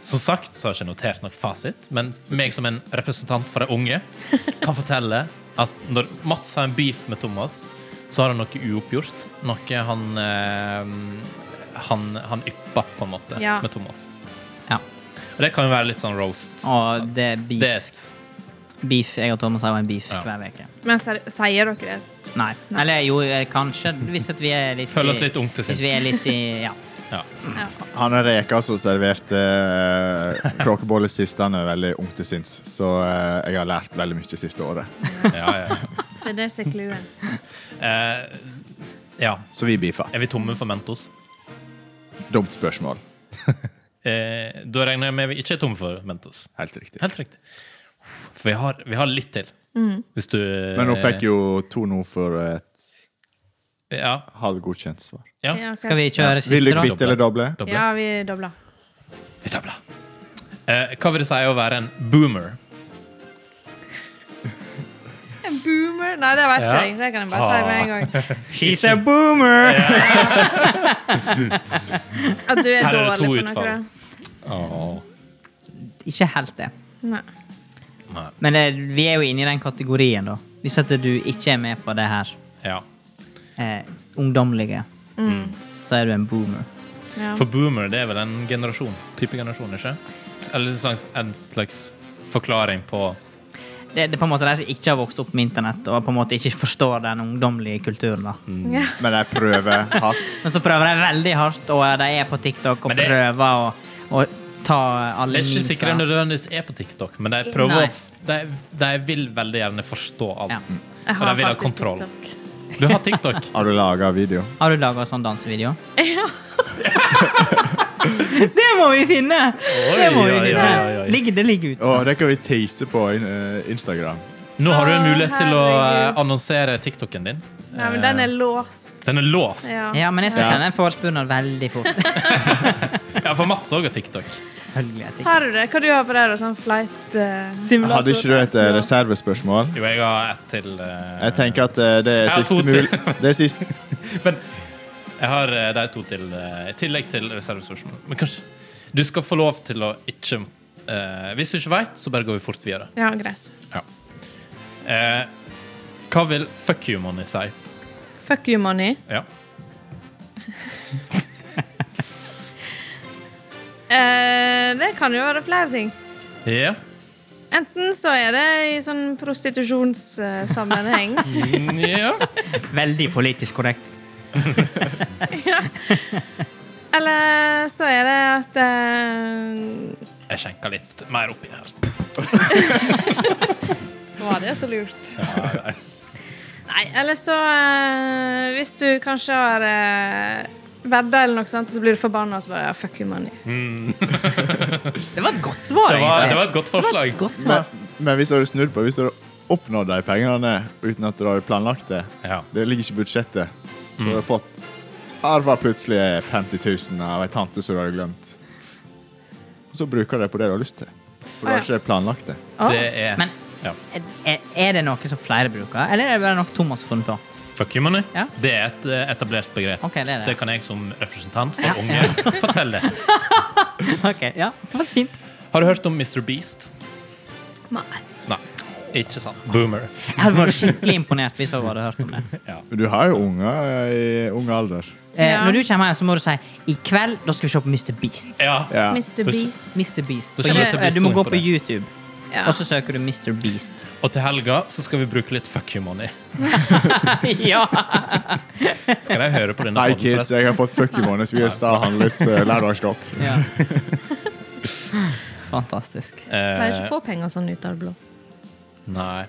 Som sagt så har jeg ikke notert nok fasit, men meg som en representant for de unge kan fortelle at når Mats har en beef med Thomas, så har han noe uoppgjort. Noe han eh, han, han ypper, på en måte,
Ja.
med Thomas.
Ja.
Og det kan jo være litt sånn roast.
Og det er beef.
Det er et
beef. Jeg og Thomas har jo en beef
Ja.
hver uke.
Men ser- sier dere det?
Nei. Eller jo, eh, kanskje hvis at vi er litt i-
Føler oss litt ungt til sinns.
Hvis vi er litt i Ja.
Ja.
Han er reka som serverte uh, kråkeboller sist. Han er veldig ung til sinns, så eh, jeg har lært veldig mye siste året.
Ja, ja.
Det er det som er clouen.
Eh, ja.
Så vi beefer.
Er vi tomme for Mentos?
Dumt spørsmål.
Eh, da regner jeg med vi ikke er tomme for Mentos.
Helt riktig.
Helt riktig. For vi har, vi har litt til.
Mm.
Hvis du
Men hun
Eh.
fikk jo to nå for et
Ja.
halvgodkjent svar.
ja.
Ja, ok.
Skal vi kjøre siste,
Vil du
da?
kvitte eller doble?
Doble.
Ja, vi dobler.
Vi dobler. Eh, hva vil det si å være en boomer?
En boomer? Nei, det vet
Ja. Ah.
ikke jeg. Det kan jeg bare si med en gang.
She's a boomer!
(laughs) At du er
Her er det to
dårlig på noe.
utfall. Åh.
Ikke helt det.
da. Nei.
Nei.
Men det, vi er jo inne i den kategorien, da. Hvis at du ikke er med på det her
Ja.
eh, ungdommelige,
Mm.
så er du en boomer.
Ja.
For boomer det er vel en generasjon? Type generasjon, ikke? Eller en slags, en slags forklaring på
det, det er på en måte de som ikke har vokst opp med internett, og på en måte ikke forstår den ungdommelige kulturen. da.
Mm.
Ja.
Men jeg prøver hardt.
Men så prøver de veldig hardt, og eh, de er på TikTok og
Men det-
prøver å, å ta alle
Jeg er ikke
memesa.
sikker det nødvendigvis er på TikTok, men de
Nei.
prøver å- de, de vil veldig gjerne forstå alt. Mm.
Ja.
Jeg
Og de
har
vil ha
faktisk
kontroll.
TikTok. (laughs)
Du har TikTok.
Har du laga video?
Har du laga sånn dansevideo? (laughs)
Ja.
Det må vi finne! det må vi
oi,
finne.
oi, oi.
Ligger, det ligger ute.
Å, det kan vi tease på eh, Instagram.
Nå har du en
Å,
mulighet til å
herregud.
eh, annonsere TikToken din.
Nei, men den er låst.
Den er låst. Ja,
Ja.
Ja, men jeg skal
Ja.
sende en forespørsel veldig fort. (laughs)
for Mats òg har TikTok.
Selvfølgelig. at jeg ikke-
Har du det? Hva du har på det? da? Sånn flight eh,
Hadde ikke du et eh, reservespørsmål?
Jo, jeg har ett til. eh,
Jeg tenker at eh, det er
Jeg har
siste
to til.
mul... Det er siste
Men jeg har eh, de to til, eh, i tillegg til reservespørsmål. Men kanskje du skal få lov til å ikke eh, Hvis du ikke veit, så bare går vi fort videre.
Ja, greit.
Eh, hva vil fuck you money si?
Fuck you, money.
Ja.
Eh, det kan jo være flere ting.
Ja.
Enten så er det i sånn prostitusjonssammenheng.
(laughs) ja.
Veldig politisk korrekt.
Eller så er det at eh,
Jeg skjenker litt mer oppi her.
Var det så lurt? Nei, eller så eh, Hvis du kanskje har eh, vedda eller noe sånt, så blir du forbanna og så bare ja, fuck you money.
Det var et godt svar,
Det var, det
egentlig.
var et godt forslag.
Godt svar.
Men, men hvis du hadde snudd på, hvis du hadde oppnådd de pengene uten at du hadde planlagt det
Ja.
Det ligger ikke i budsjettet. Du
Mm.
hadde fått arva plutselig 50 000 av ei tante som du hadde glemt. Og så bruker du det på det du har lyst til. For du
Ah,
har ikke planlagt det.
Å,
Det er
Men
ja.
er, er det noe som flere bruker, eller er det bare noe Thomas har funnet på?
Fuck you money.
Ja.
Det er et eh, etablert begrep.
Ok, det er det.
Det kan jeg som representant for
(laughs)
unge fortelle.
(laughs) Ok, ja, det var fint.
Har du hørt om Mr. Beast?
Nei.
Nei. Ikke sant. Boomer.
Jeg hadde vært skikkelig imponert hvis jeg hadde hørt om det.
Men du har jo unger eh, i ung alder.
Eh,
Ja.
Når du kommer hjem, så må du si i kveld da skal vi se på Mr. Beast.
Ja.
Ja.
Mr. Beast. Altså,
Mr. Beast.
Da
På
kommer det til å bli
You- du må
sånn
gå
på
på
det.
YouTube,
Ja.
og så søker du Mr. Beast.
Og til helga så skal vi bruke litt fuck you money.
(laughs) ja.
Skal de høre på (laughs) denne
Hei,
podden,
kids,
forresten?
jeg har fått fuck you måned, så vi er sta og handlet
(laughs)
eh, lørdagsgodt.
ja. Fantastisk.
Jeg pleier ikke
Eh,
å få penger sånn ut
(laughs)
av det blå.
nei.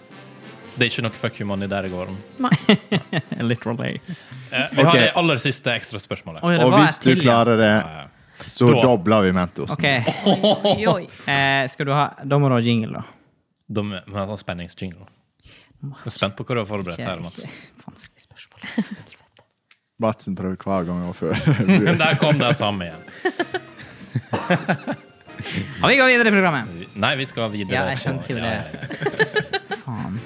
Det er ikke noe fuck you money der det går om.
Nei.
(laughs) Literally.
Eh, vi har
Ok.
det aller siste ekstraspørsmålet.
Oi, det
Og
var
hvis
et
du
til, ja.
klarer det,
Eh,
så
Da-
dobler vi Mentosen.
Ok,
Oi, oi.
eh, skal du ha Da må du ha jingle, da.
De må ha sånn spenningsjingle. Jeg er spent på hva du har forberedt her. Mats.
Ikke- ikke- Vanskelig spørsmål. (laughs)
Batsen prøver hver gang å (laughs) før.
Der kom det samme igjen.
Ja, vi går videre i programmet.
Nei, vi skal videre.
Ja, jeg skjønte jo
Ja, ja, ja.
(laughs) Faen.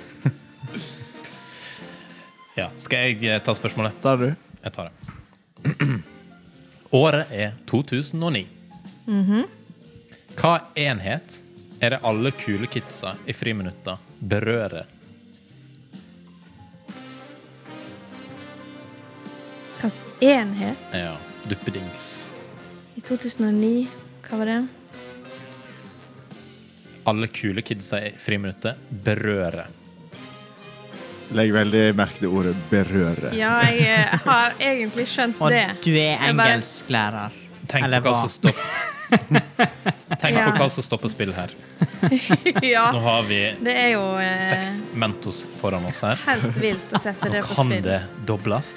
Ja. Skal jeg eh, ta spørsmålet?
Tar du?
Jeg tar det. (clears throat) Året er 2009.
Mhm.
Hva enhet er det alle kule kidsa i friminutta berører?
Hvilken enhet
Ja, duppedings.
i 2009 Hva var det?
Alle kule kidsa i friminuttet berører.
Legg veldig merke til ordet 'berøre'.
Ja, jeg eh, har egentlig skjønt
Og
det.
du er
Jeg bare-
engelsklærer.
Tenk
Eller
på hva
hva?
som
(laughs)
stopper Tenk
Ja.
på hva som stopper spill her. Nå
Ja,
har vi
det er jo eh,
seks Mentos foran oss her.
helt vilt å sette
Nå
det på
kan
spill.
det dobles.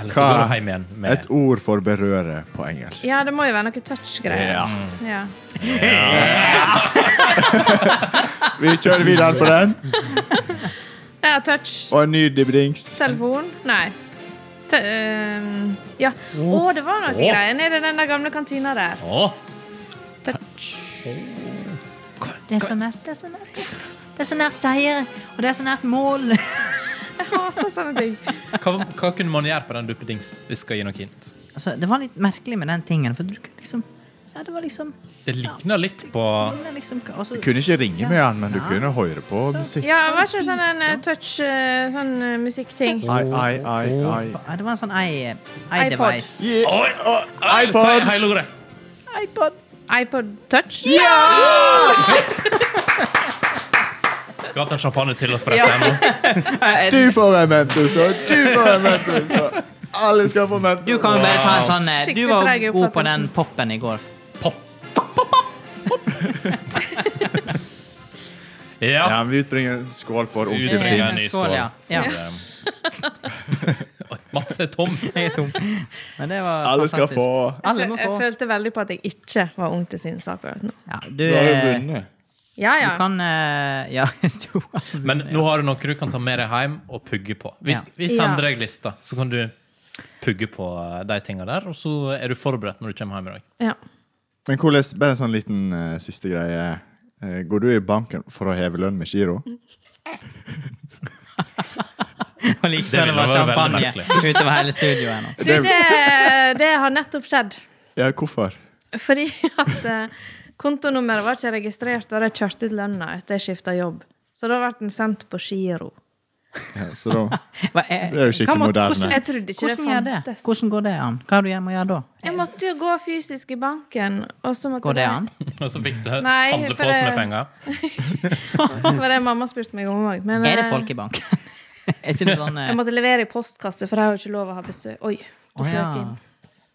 Eller så går
Hva-
du hjem igjen med
Et ord for 'berøre' på engelsk.
Ja, det må jo være noe touch-greier.
Ja.
Ja.
Vi kjører videre på
(laughs)
den.
ja, touch.
Og en ny dibbedings.
Telefon? Nei. Te øhm, ja. Å, det var noe
Å.
greier nede i den der gamle kantina der.
Å,
Touch.
Det er så nært, det er så nært. Det er så nært seier, og det er så nært mål.
Jeg hater sånne ting.
hva, hva kunne man gjøre på den duppedings? Vi skal gi noe hint.
(laughs) Altså, det var litt merkelig med den tingen, for du kunne liksom Ja, det var liksom
Det ligner litt på
det var liksom og så-
Du kunne ikke ringe med han, men du kunne høre på musikk.
Ja, det var ikke sånn en eh, touch eh, sånn eh, musikkting.
Ai, ai, ai, ai.
Ja, det var en sånn ei, ei
iPod.
(laughs)
device.
Yeah.
Oi, oi, oi,
iPod.
si Hei, Lore.
iPod.
iPod touch?
Skulle hatt en champagne til å sprette her
(laughs)
nå.
Du får være mentor, og du får være mentor, så alle skal få mentor.
Du kan jo bare ta en sånn eh, Du
Skikkelig
var
treig i
god på
oppfattelsen.
den poppen i går.
Pop. Ja.
Ja, vi utbringer en skål for onkel
Utbringer
sin.
en ny
Skål,
skål.
ja. Ja. (laughs)
Oi, Mats er tom.
Jeg er tom. Men det var
Alle skal
fantastisk.
få.
Alle må
Jeg
få.
følte veldig på at jeg ikke var ung til sin sak akkurat nå.
Ja, du,
Du har jo
eh,
vunnet.
Ja,
du
ja.
kan eh, (laughs) Ja, du har
Men nå har du noe du kan ta med deg hjem og pugge på. Vi,
Ja.
vi sender deg lista, så kan du pugge på eh, de tinga der. Og så er du forberedt når du kommer hjem i dag. (laughs)
ja.
Men hvordan, bare en sånn liten eh, siste greie. Eh, går du i banken for å heve lønn med giro?
Og likevel
ville
det var
være veldig
champagne
merkelig.
utover hele studioet nå.
Du, det, eh, det har nettopp skjedd.
Ja, hvorfor?
Fordi at eh, kontonummeret var ikke registrert, og de kjørte ut lønna etter jeg skifta jobb. Så da ble den sendt på giro.
Ja, så da,
Hva, eh,
Det er jo skikkelig
hva må-
moderne.
hvordan-
Jeg trodde ikke det
Hvordan, gjør det?
fantes.
hvordan går det an? Hva er det jeg må gjøre da?
Jeg måtte jo gå fysisk i banken, og så måtte
Går det
jeg- (laughs)
an?
Og så fikk du
Nei,
handle
for
på oss
det-
med penger.
Det var det mamma spurte meg om òg. Men
Er det
eh,
folk i banken? (laughs) er ikke det sånn eh,
jeg måtte levere i postkasse, for jeg har jo ikke lov å ha besøk. Oi,
Å
besøk
ja.
inn.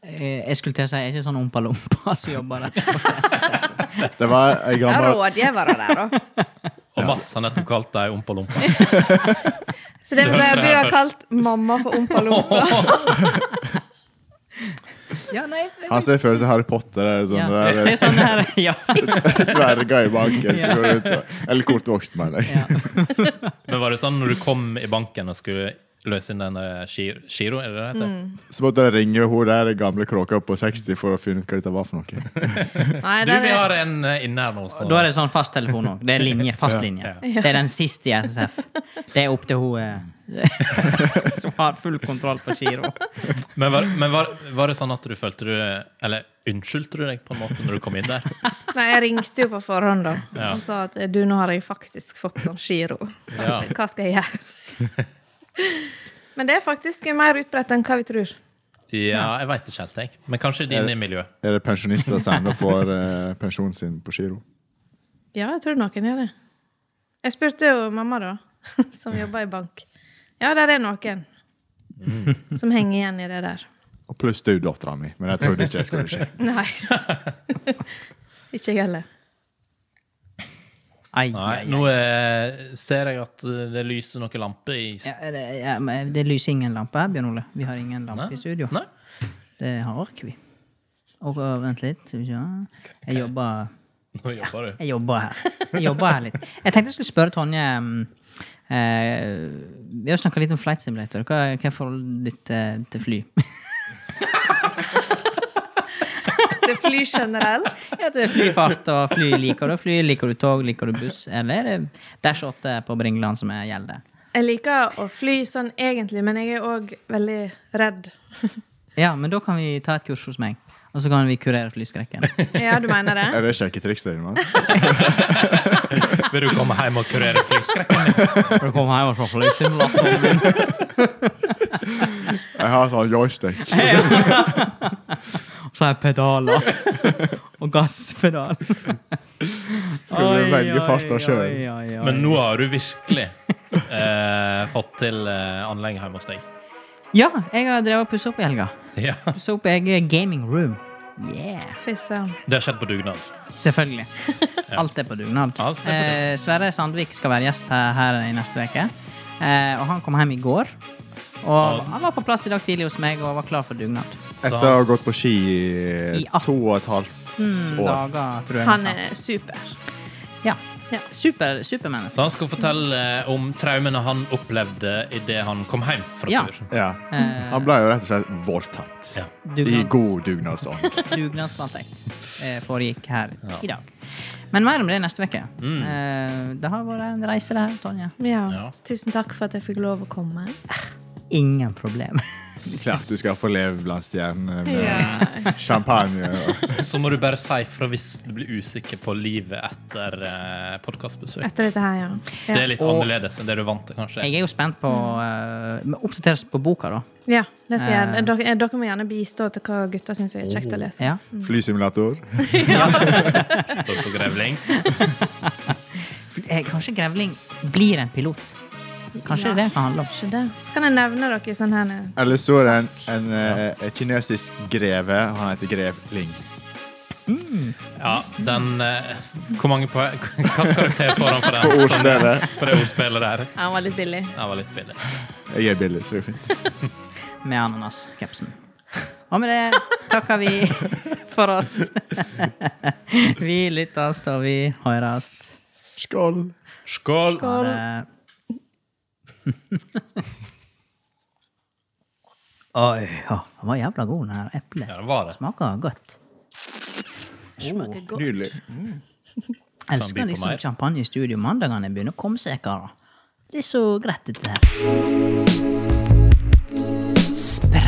Eh, Jeg skulle til å si, er ikke sånn ompa lompa (laughs) som jobber der?
det var ei
Jeg har
gammel
rådgivere der òg.
Og Mats har nettopp kalt deg ompa-lompa.
Så
(laughs)
det vil si at du har kalt mamma for ompa-lompa.
Ja, nei, det,
Han ser for seg Harry Potter eller sånn.
ja. (laughs)
der,
det er sånn her, ja.
(laughs) Dverger i banken
Ja.
som går rundt og Eller kortvokst, mener jeg.
ja.
Men var det sånn når du kom i banken og skulle løse inn den der gir- giro, er det det heter?
Så måtte jeg ringe hun der gamle kråka på 60 for å finne ut hva dette var for noe.
Nei,
Du,
der
vi
er-
har en eh, inne her nå, så
Da er det sånn fasttelefon òg. Det er linje, fast linje. Det er den siste i SSF. Det er opp til hun eh, (laughs) som har full kontroll på giro.
Men, var, men var, var det sånn at du følte du Eller unnskyldte du deg på en måte når du kom inn der?
Nei, jeg ringte jo på forhånd da
Ja.
og sa at du, nå har jeg faktisk fått sånn giro. Hva
Ja.
skal, (laughs) hva skal jeg gjøre? Men det er faktisk mer utbredt enn hva vi tror.
Ja, jeg veit ikke helt, jeg. Men kanskje din i miljøet.
Er det pensjonister som ennå får eh, pensjonen sin på giro?
Ja, jeg tror noen gjør det. Jeg spurte jo mamma, da, (laughs) som jobber i bank. Ja, der er noen
Mm.
som henger igjen i det der.
Og pluss du, dattera mi. Men jeg trodde ikke det skulle skje.
Nei. (laughs) Ikke jeg heller.
Ai,
Nei,
ai,
nå
ai.
eh, ser jeg at det lyser noen lamper i
Ja, det, ja, men det lyser ingen lampe her, Bjørn Ole. Vi har ingen lampe i studio.
Nei?
Det har ikke vi. Og og vent litt. Skal vi se. Jeg jobber
Nå jobber du.
Jeg jobber her. Jeg jobber her litt. Jeg tenkte jeg skulle spørre Tonje mm, eh, Vi har snakka litt om flight simulator. Hva, hva er forholdet ditt eh, til fly? (laughs)
Til fly generelt.
Ja, det er flyfart og fly. Liker du fly? Liker du tog? Liker du buss? Eller er det Dash 8 på Bringeland som er gjelder?
Jeg liker å fly sånn egentlig, men jeg er òg veldig redd.
Ja, men da kan vi ta et kurs hos meg. Og så kan vi kurere flyskrekken.
Ja, du mener det?
(laughs)
Er det sjekketrikset ditt? mann?
(laughs) Vil du komme hjem og kurere flyskrekken?
(laughs) For å komme hjem og se flysimulator.
Jeg har sånn joystick.
(laughs) Og så har jeg pedaler. (laughs) Og gasspedal.
Skal du velge farta sjøl?
Men nå har du virkelig eh, fått til eh, anlegget hjemme hos deg.
Ja, jeg har drevet og pussa opp i helga.
Ja.
Pussa opp i egen gaming room. Yeah.
Fy søren.
Det har skjedd på dugnad.
(laughs) Selvfølgelig. Alt er på dugnad.
Alt er på
Eh, Sverre Sandvik skal være gjest her, her i neste uke. Eh, og han kom hjem i går. Og han var på plass i dag tidlig hos meg og var klar for dugnad.
Etter å ha gått på ski i
I atten
to og et halvt år.
Mm, Dager, tror jeg.
Han
sa.
er super.
Ja.
Ja.
Super, supermenneske.
Så han skal fortelle eh, om traumene han opplevde idet han kom hjem fra
Ja.
tur.
Ja.
Eh.
Han ble jo rett og slett voldtatt.
Ja.
I
Dugnads-
god dugnadsånd.
Dugnadsvoldtekt eh, foregikk her i dag. Men mer om det neste uke. Eh, det har vært en reise, det her, Tonje.
Ja.
Ja.
Tusen takk for at jeg fikk lov å komme.
Ingen problem.
Klart du skal få leve blant stjernene med
Ja.
eh, champagne. Og.
Så må du bare si fra hvis du blir usikker på livet etter eh, podkastbesøk.
(laughs) Etter dette her, ja.
Det
Ja.
er litt
Og-
annerledes enn det du er vant til, kanskje.
Jeg er jo spent på eh, men Oppdateres på boka, da.
ja det skal jeg. gjøre. Dere, eh, dere må gjerne bistå til hva gutta syns er
Oh.
kjekt å lese.
Ja.
Flysimulator.
Dr. Grevling.
eh, kanskje Grevling blir en pilot. Kanskje det er det det kan handle om.
Ikke det. Så kan jeg nevne dere sånn her nede.
Eller så er det en, en, eh, eh, kinesisk greve. Han heter Grevling.
Ja, den eh, Hvor mange poeng Hvilken karakter får han for den?
På ordspillet.
For det ordspillet der?
Ja, han var litt billig.
Den var litt billig.
Jeg er billig, så det er fint.
med ananaskepsen. Og med det takker vi for oss. (laughs) Vi lyttes og vi høres.
Skål.
Skål!
Ha
Skål.
det. (laughs) Oi, ja, den var jævla god, den her
Ja,
eplet.
det var det.
Smaker godt.
Nydelig.
Jeg
by
elsker
på
liksom
mer.
champagne i studio. Mandagene begynner å komme seg lekkere. Det er så greit, dette her.
Spell.